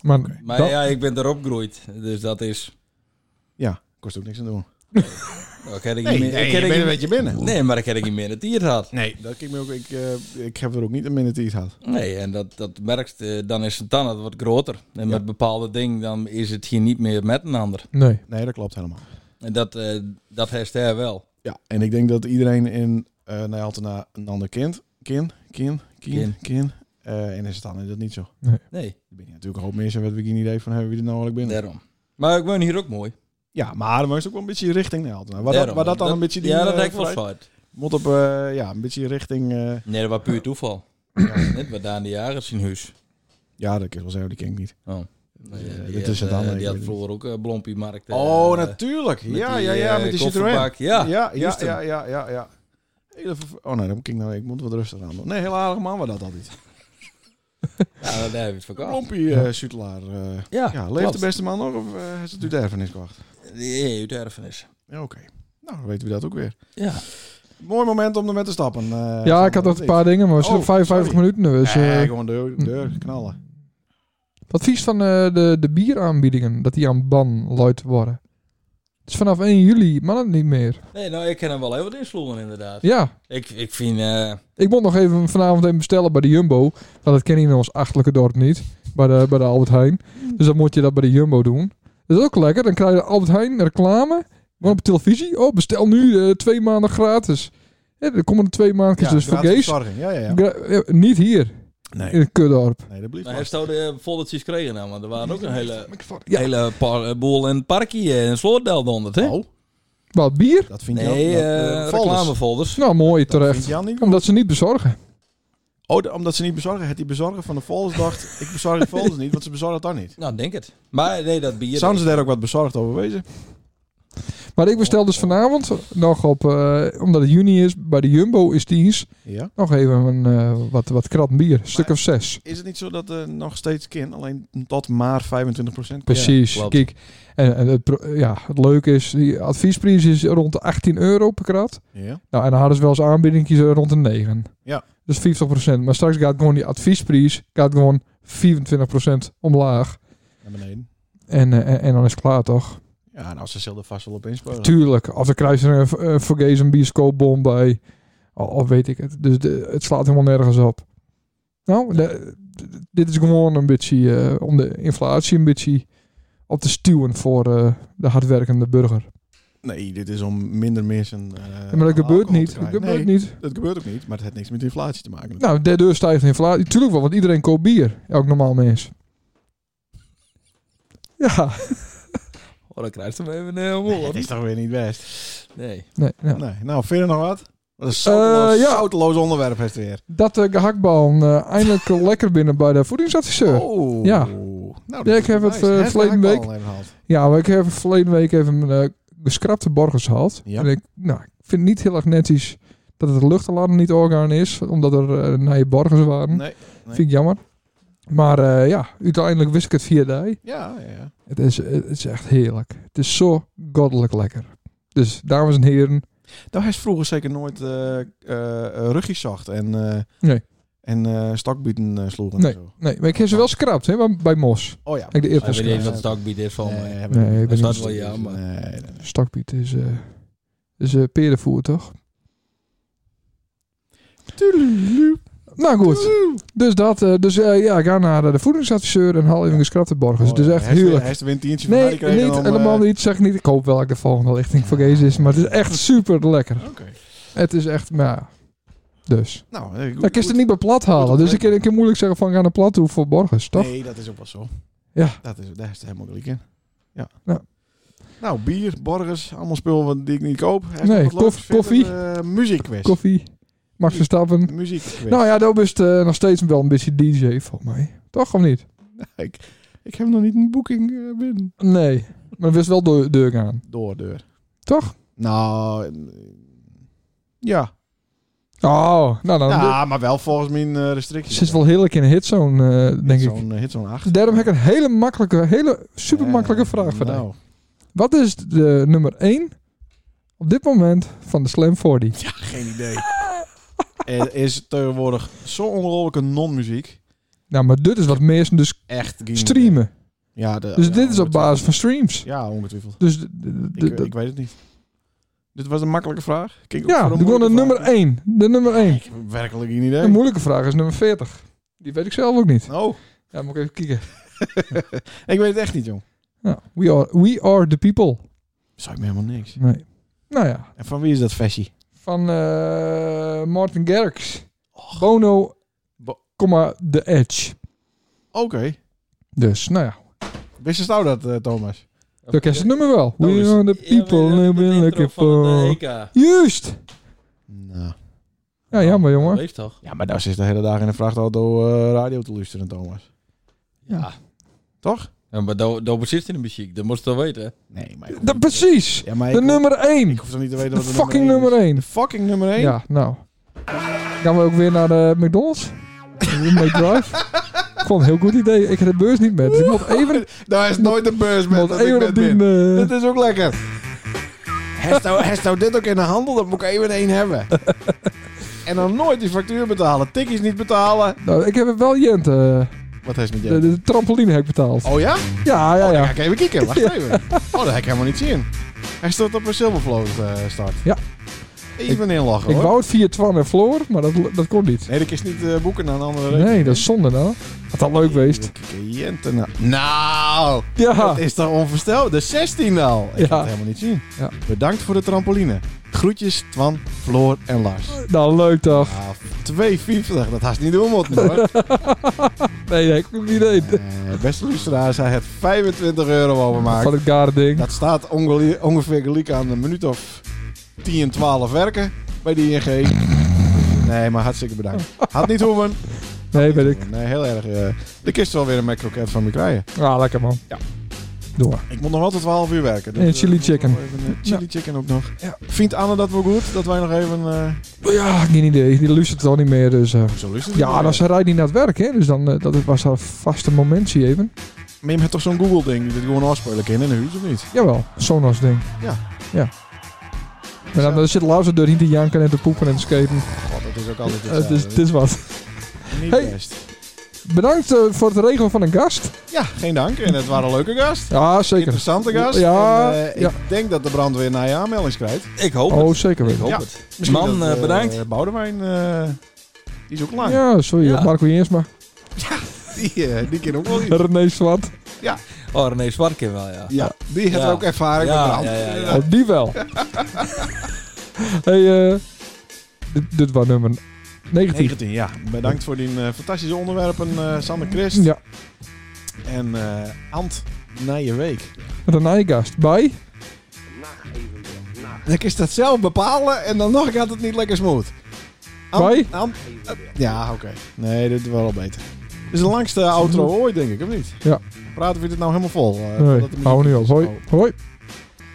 Maar,
maar
dat-
ja, ik ben erop gegroeid. Dus dat is...
Ja, kost ook niks aan doen.
Nou, ik had ik
Nee,
niet
nee,
meer-
nee
ik had
je
ik
bent een
niet-
beetje binnen.
Nee, maar ik heb ik niet meer het tier gehad.
Nee, dat ik me ook. Ik, eh, ik heb er ook niet een minute iets gehad.
Nee, en dat, dat merkt, eh, dan is het dan het wordt groter. En
Ja.
met bepaalde dingen, dan is het hier niet meer met een ander.
nee.
Nee, dat klopt helemaal.
En dat, eh dat heeft hij wel.
Ja, en ik denk dat iedereen in eh naar Altena een ander kind. Kin, kin, kin,
Kin.
kin. Eh, en is het dan is dat niet zo. Er
Nee,
ben je natuurlijk een hoop mensen wat we geen idee van hebben wie er nou eigenlijk binnen.
daarom. Maar ik woon hier ook mooi.
Ja, maar dan is ook wel een beetje richting naar Altena. Waar, dat,
Daarom.
waar dat dan een beetje die...
Ja, dat
eh,
denk ik wel
vrij-
fout.
Moet op, eh, ja, een beetje richting... eh,
Nee, dat was puur toeval.
Ja.
Net bij Daan de Jagers in huis.
ja, dat kan ik wel zeggen, die ken ik niet.
Oh.
Eh,
Die
dat
had,
is het dan,
eh,
ik
Die had
weet
vroeger ook eh, Blompiemarkt. eh,
oh,
met
natuurlijk.
die,
Ja, ja, ja,
eh,
met die Citroën.
kofferbak. Ja,
ja, ja,
juist hem.
ja, ja, ja, ja. Hele verv- Oh nee, dan moet ik, nou, ik moet wat rustig aan doen. Nee, heel aardig man, maar dat altijd.
Ja, daar heb je het verkocht.
Klompie eh Sutelaar. eh,
Ja,
ja, leeft
klopt.
de beste man nog of eh, is het uw erfenis gewacht?
Nee, uit de erfenis.
Ja, oké. Nou, dan weten we dat ook weer.
Ja.
Mooi moment om ermee te stappen. eh,
Ja, ik
Sander,
had nog
wat
een paar dingen, maar we zitten
Oh,
op 55
sorry.
minuten. Dus, eh,
Nee, gewoon deur, deur knallen.
Wat vies van eh, de, de bieraanbiedingen, dat die aan ban luid worden. Dus vanaf 1 juli mag het niet meer.
Nee, nou, ik ken hem wel heel wat insloegen, inderdaad.
Ja,
Ik, ik vind... eh,
ik moet nog even vanavond even bestellen bij de Jumbo. Want dat kennen in ons achterlijke dorp niet. Bij de, bij de Albert Heijn. Dus dan moet je dat bij de Jumbo doen. Dat is ook lekker. Dan krijg je Albert Heijn reclame. Maar op de televisie. Oh, bestel nu eh, twee maanden gratis. Ja, dan komen er twee maandjes dus voor
gratis
Gees.
verzorging. Ja, ja, ja.
Gra- eh, niet hier, in
Nee,
het kutdorp.
nee dat blijft
Maar
wel.
heeft zo de eh, foldertjes gekregen nou, want er waren ook een hele,
Ja.
hele paar, eh, boel in het parkje en Sloordel donderd, hè?
Oh,
Wat, bier?
dat vind
Nee,
Jan... dat,
eh,
eh, folders.
reclamefolders.
Nou, mooi
Dat
terecht.
vindt Jan niet goed.
Omdat ze niet bezorgen.
Oh, de- omdat ze niet bezorgen. Het die bezorger van de folders dacht, ik bezorg de folders niet, want ze bezorgen het dan niet.
Nou, denk het. Maar nee, dat bier...
Zouden ze daar ook wat bezorgd over wezen?
Maar ik bestel dus vanavond nog op, eh, omdat het juni is, bij de Jumbo is diens,
Ja.
nog even een, eh, wat, wat krat bier. Een stuk
Maar-
of zes.
Is het niet zo dat er nog steeds kin, alleen tot maar 25 procent?
Precies.
klopt.
Kijk, en, en het, pro- ja, het leuke is, die adviesprijs is rond de 18 euro per krat.
Ja.
Nou, en dan hadden ze wel eens aanbiedingjes rond de 9.
Ja.
Dus 50%. Maar straks gaat gewoon die adviesprijs gaat gewoon 25% omlaag.
Naar beneden.
En, eh, en, en dan is het klaar toch?
Ja, nou, ze zullen er vast wel op inspelen.
Tuurlijk. Of dan krijg je er een, eh, v- een Vergees een bioscoopbon bij. Of, of weet ik het. Dus de- het slaat helemaal nergens op. Nou, de- d- dit is gewoon een beetje eh, om de inflatie een beetje op te stuwen voor eh, de hardwerkende burger.
Nee, dit is om minder mensen. eh,
Ja, maar dat
aan
gebeurt
alcohol
niet.
te
Dat
krijgen.
gebeurt
Nee,
niet.
Dat gebeurt ook niet, maar het heeft niks met inflatie te maken.
Nou, daardoor stijgt de inflatie. Tuurlijk wel, want iedereen koopt bier. Elk normaal mens. Ja.
Oh, dan krijgt hem even een helemaal
Nee, het is toch weer niet best.
Nee.
Nee, nou.
Nee, nou, vind je nog wat? Wat een zouteloos,
Eh, ja.
zouteloos onderwerp heeft het weer.
Dat de gehaktbal eh, eindelijk lekker binnen bij de voedingsadviseur.
Oh.
Ja.
Nou, dat
Ja, ik
is
heb het,
nice.
eh,
Hè,
verleden
daar heb
week-
ik al even gehad.
Ja, maar ik heb verleden week even mijn eh, geschrapte borgers gehad.
Ja.
En ik, nou, ik vind het niet heel erg netjes dat het luchtalarm niet orgaan is, omdat er eh nieuwe borgers waren.
Nee. nee.
Vind ik jammer. Maar eh, ja, uiteindelijk wist ik het via die.
Ja, ja, ja.
Het is, het is echt heerlijk. Het is zo goddelijk lekker. Dus dames en heren,
Nou, hij is vroeger zeker nooit eh eh, eh, rugjes zacht en, eh,
Nee.
en eh, stakbieten eh, sloegen
Nee.
en zo.
nee, maar ik heb ze wel geschrapt, hè, maar bij Mos.
Oh ja.
Kijk, de
Ik
eerste
weet niet
schrijf.
wat het ook biedt is van mij.
heb
Nee, ik ben
niet.
Dat
niet.
is wel jammer.
Nee, nee, nee.
Stakbiet is, eh is eh perenvoer, toch? Nou goed, dus dat. eh, dus eh, ja, ga naar eh, de voedingsadviseur en haal even geschrapte borgers.
Oh,
het is dus
ja.
echt
Hij is-
heerlijk.
Hij is de wintientje van
Nee,
mij gekregen
niet,
om, eh,
helemaal niet. Zeg niet, ik hoop wel dat ik de volgende lichting voor deze is. Maar het is echt super lekker.
Oké.
Het is echt, nou ja. Dus.
Nou, eh, goed-
Ik kan het
goed.
niet bij plat halen. Dus ik kan, ik kan moeilijk zeggen van, ga naar plat toe voor borgers, toch?
Nee, dat is ook wel zo.
Ja.
Dat is, daar is het helemaal gelijk in. Ja.
Ja.
Nou, bier, borgers, allemaal spul wat die ik niet koop. Hij is
Nee,
nog wat leuks.
koff-
Verder,
koffie.
eh, muziekquiz.
Koffie, Max Verstappen.
Muziekquiz.
Nou ja, daar is eh, nog steeds wel een beetje DJ, volgens mij. Toch of niet?
ik, ik heb nog niet een boeking eh, binnen.
Nee, maar er is wel deur, deur gaan.
Doordeur.
Toch?
Nou, eh, ja.
Oh, nou dan
Ja, maar wel volgens mijn eh restricties.
zit wel heerlijk in een hitzone, eh, denk ik. Dus
Zo'n, eh, hit zo'n 8.
Daarom heb ik een hele makkelijke, hele super makkelijke vraag voor jou.
nou.
Wat is de nummer 1 op dit moment van de Slam 40?
Ja, geen idee. Er is tegenwoordig zo ongelooflijke non-muziek.
Nou, maar dit is wat mensen dus
Echt. geen idee.
streamen.
Ja, de-
Dus
ja,
dit is op
ongetwijfeld.
basis van streams.
Ja, ongetwijfeld.
Dus de- de- de-
Ik,
de-
ik weet het niet. Dit was een makkelijke vraag. Kijk, ook
ja,
voor
doe gewoon de
moeilijke
nummer
vraag.
1. De nummer 1.
Ik heb werkelijk geen idee.
De moeilijke vraag is nummer 40. Die weet ik zelf ook niet.
Oh,
Ja, moet ik even kijken.
ik weet het echt niet, jong.
Nou, we, are, we are the people.
Zou ik me helemaal niks.
Nee. Nou ja,
En van wie is dat versie?
van eh Martin Garrix. Bono,
Bo-
comma, The Edge.
Oké.
Dus, nou ja.
Wist je nou dat, eh, Thomas?
Dan ken je het nummer wel.
dus- Dat
We
is-
are the people,
Ja,
we've
maar
been
dat
looking
intro van het,
for...
eh, EK.
Juist!
Nou.
Ja, jammer
Dat
jongen.
leeft toch?
Ja, maar daar zit de hele dag in een vrachtauto eh, radio te luisteren, Thomas.
Ja.
Toch?
Ja, maar daar daar bezit in de muziek. Dat moest je wel weten.
Nee, maar... ik hoef
Dat,
niet-
precies!
Ja, maar ik
De
hoef-
nummer 1.
Ik hoef toch niet te weten
De
wat de
fucking nummer
één
1.
is. De fucking nummer 1?
Ja, nou. Gaan we ook weer naar de McDonald's? McDrive? ik vond het een heel goed idee. Ik heb de beurs niet met. Dus ik moet even, ik
Daar is nooit de beurs met
moet
dat ik
even
net
op die...
ben.
eh,
Dit is ook lekker. Hesto, hesto nou dit ook in de handel, dat moet ik even één hebben. En dan nooit die factuur betalen, tikkies niet betalen.
nou, ik heb wel Jent, eh,
Wat heeft met
de,
jou?
de trampoline heb ik betaald.
Oh ja?
Ja, ja,
Oh, dan ga
ja.
ik even kieken. Wacht even. Oh, dat heb ik helemaal niet zien. Hij stond op een Silvervloot eh, start.
Ja.
Even inloggen
Ik
hoor.
wou het via Twan en Floor, maar dat, dat kon niet.
Nee, dat is niet eh, boeken naar een andere
Nee, dat is zonde nou. Had dat leuk geweest.
Cliënten nou. Nou,
Ja.
dat is toch onvoorstelbaar. De 16 al. Ik
Ja.
kan het helemaal niet zien.
Ja.
Bedankt voor de trampoline. Groetjes Twan, Floor en Lars.
Nou, leuk toch.
Ah, 2,50. Dat haast niet doen moeten hoor.
Nee, nee, ik heb niet idee.
Eh, beste luisteraar, zij het 25 euro overmaakt.
Van het garding.
Dat staat ongelie- ongeveer gelijk aan een minuut of 10, 12 werken bij de ING. Nee, maar hartstikke bedankt. Had niet hoeven.
Nee, weet ik.
Nee, heel erg. eh, de kist wel weer een macroket van me krijgen.
Ah, lekker man.
Ja.
Doe maar.
Ik moet nog wel tot 12 uur werken.
En
eh,
chili
moet
chicken.
nog even, eh, chili chicken ook nog.
Ja.
Vindt Anne dat wel goed? Dat wij nog even... eh,
Ja, geen idee. Die luistert het al niet meer, dus... eh.
Zo is het niet
Ja,
meer.
dan ze rijdt niet naar het werk, hè. Dus dan, eh, dat was haar vaste momentje even.
Maar je hebt toch zo'n Google-ding die dit gewoon afspelen kan in een huis, of niet?
Jawel, Sonos ding.
Ja.
Ja. Maar dan, dan zit Lauze doorheen te janken en te poepen en te skaten.
God, Oh, dat is ook altijd
Eh, Het is, het
hetzelfde.
is wat.
Niet
Hey.
best.
Bedankt eh, voor het regelen van een gast.
Ja, geen dank. En het waren een leuke gast.
Ja, zeker.
Interessante gast.
Ja,
En, eh,
ja.
Ik denk dat de brandweer naar je aanmelding schrijft.
Ik hoop
Oh,
het.
zeker
Ik
weten.
hoop
Ja.
het. Man,
dat,
eh,
eh,
bedankt.
Boudewijn, eh, die is ook lang.
Ja, sorry,
Ja.
Marco Jeensma.
Die, eh, die kan ook wel iets.
René Zwart. eh,
Oh, René Zwartkin wel, ja.
Ja, die heeft
Ja.
ook ervaring
Ja,
met brand.
ja, ja, ja.
Oh, die wel. hey, eh dit, dit was nummer 19.
19, ja. Bedankt voor die eh, fantastische onderwerpen, eh, Sander Christ.
Ja,
En eh, Ant, na je week.
René gast. Bij?
Dan kun je dat zelf bepalen en dan nog gaat het niet lekker smooth. Ant-
Wij?
Ant- eh, ja, oké. Nee, dit is wel al beter. Dit is de langste outro ooit, denk ik, of niet?
Ja.
Praten we dit nou helemaal vol? eh,
Nee,
voordat de muziek
hou nu
is?
op. Hoi.
Oh.
Hoi.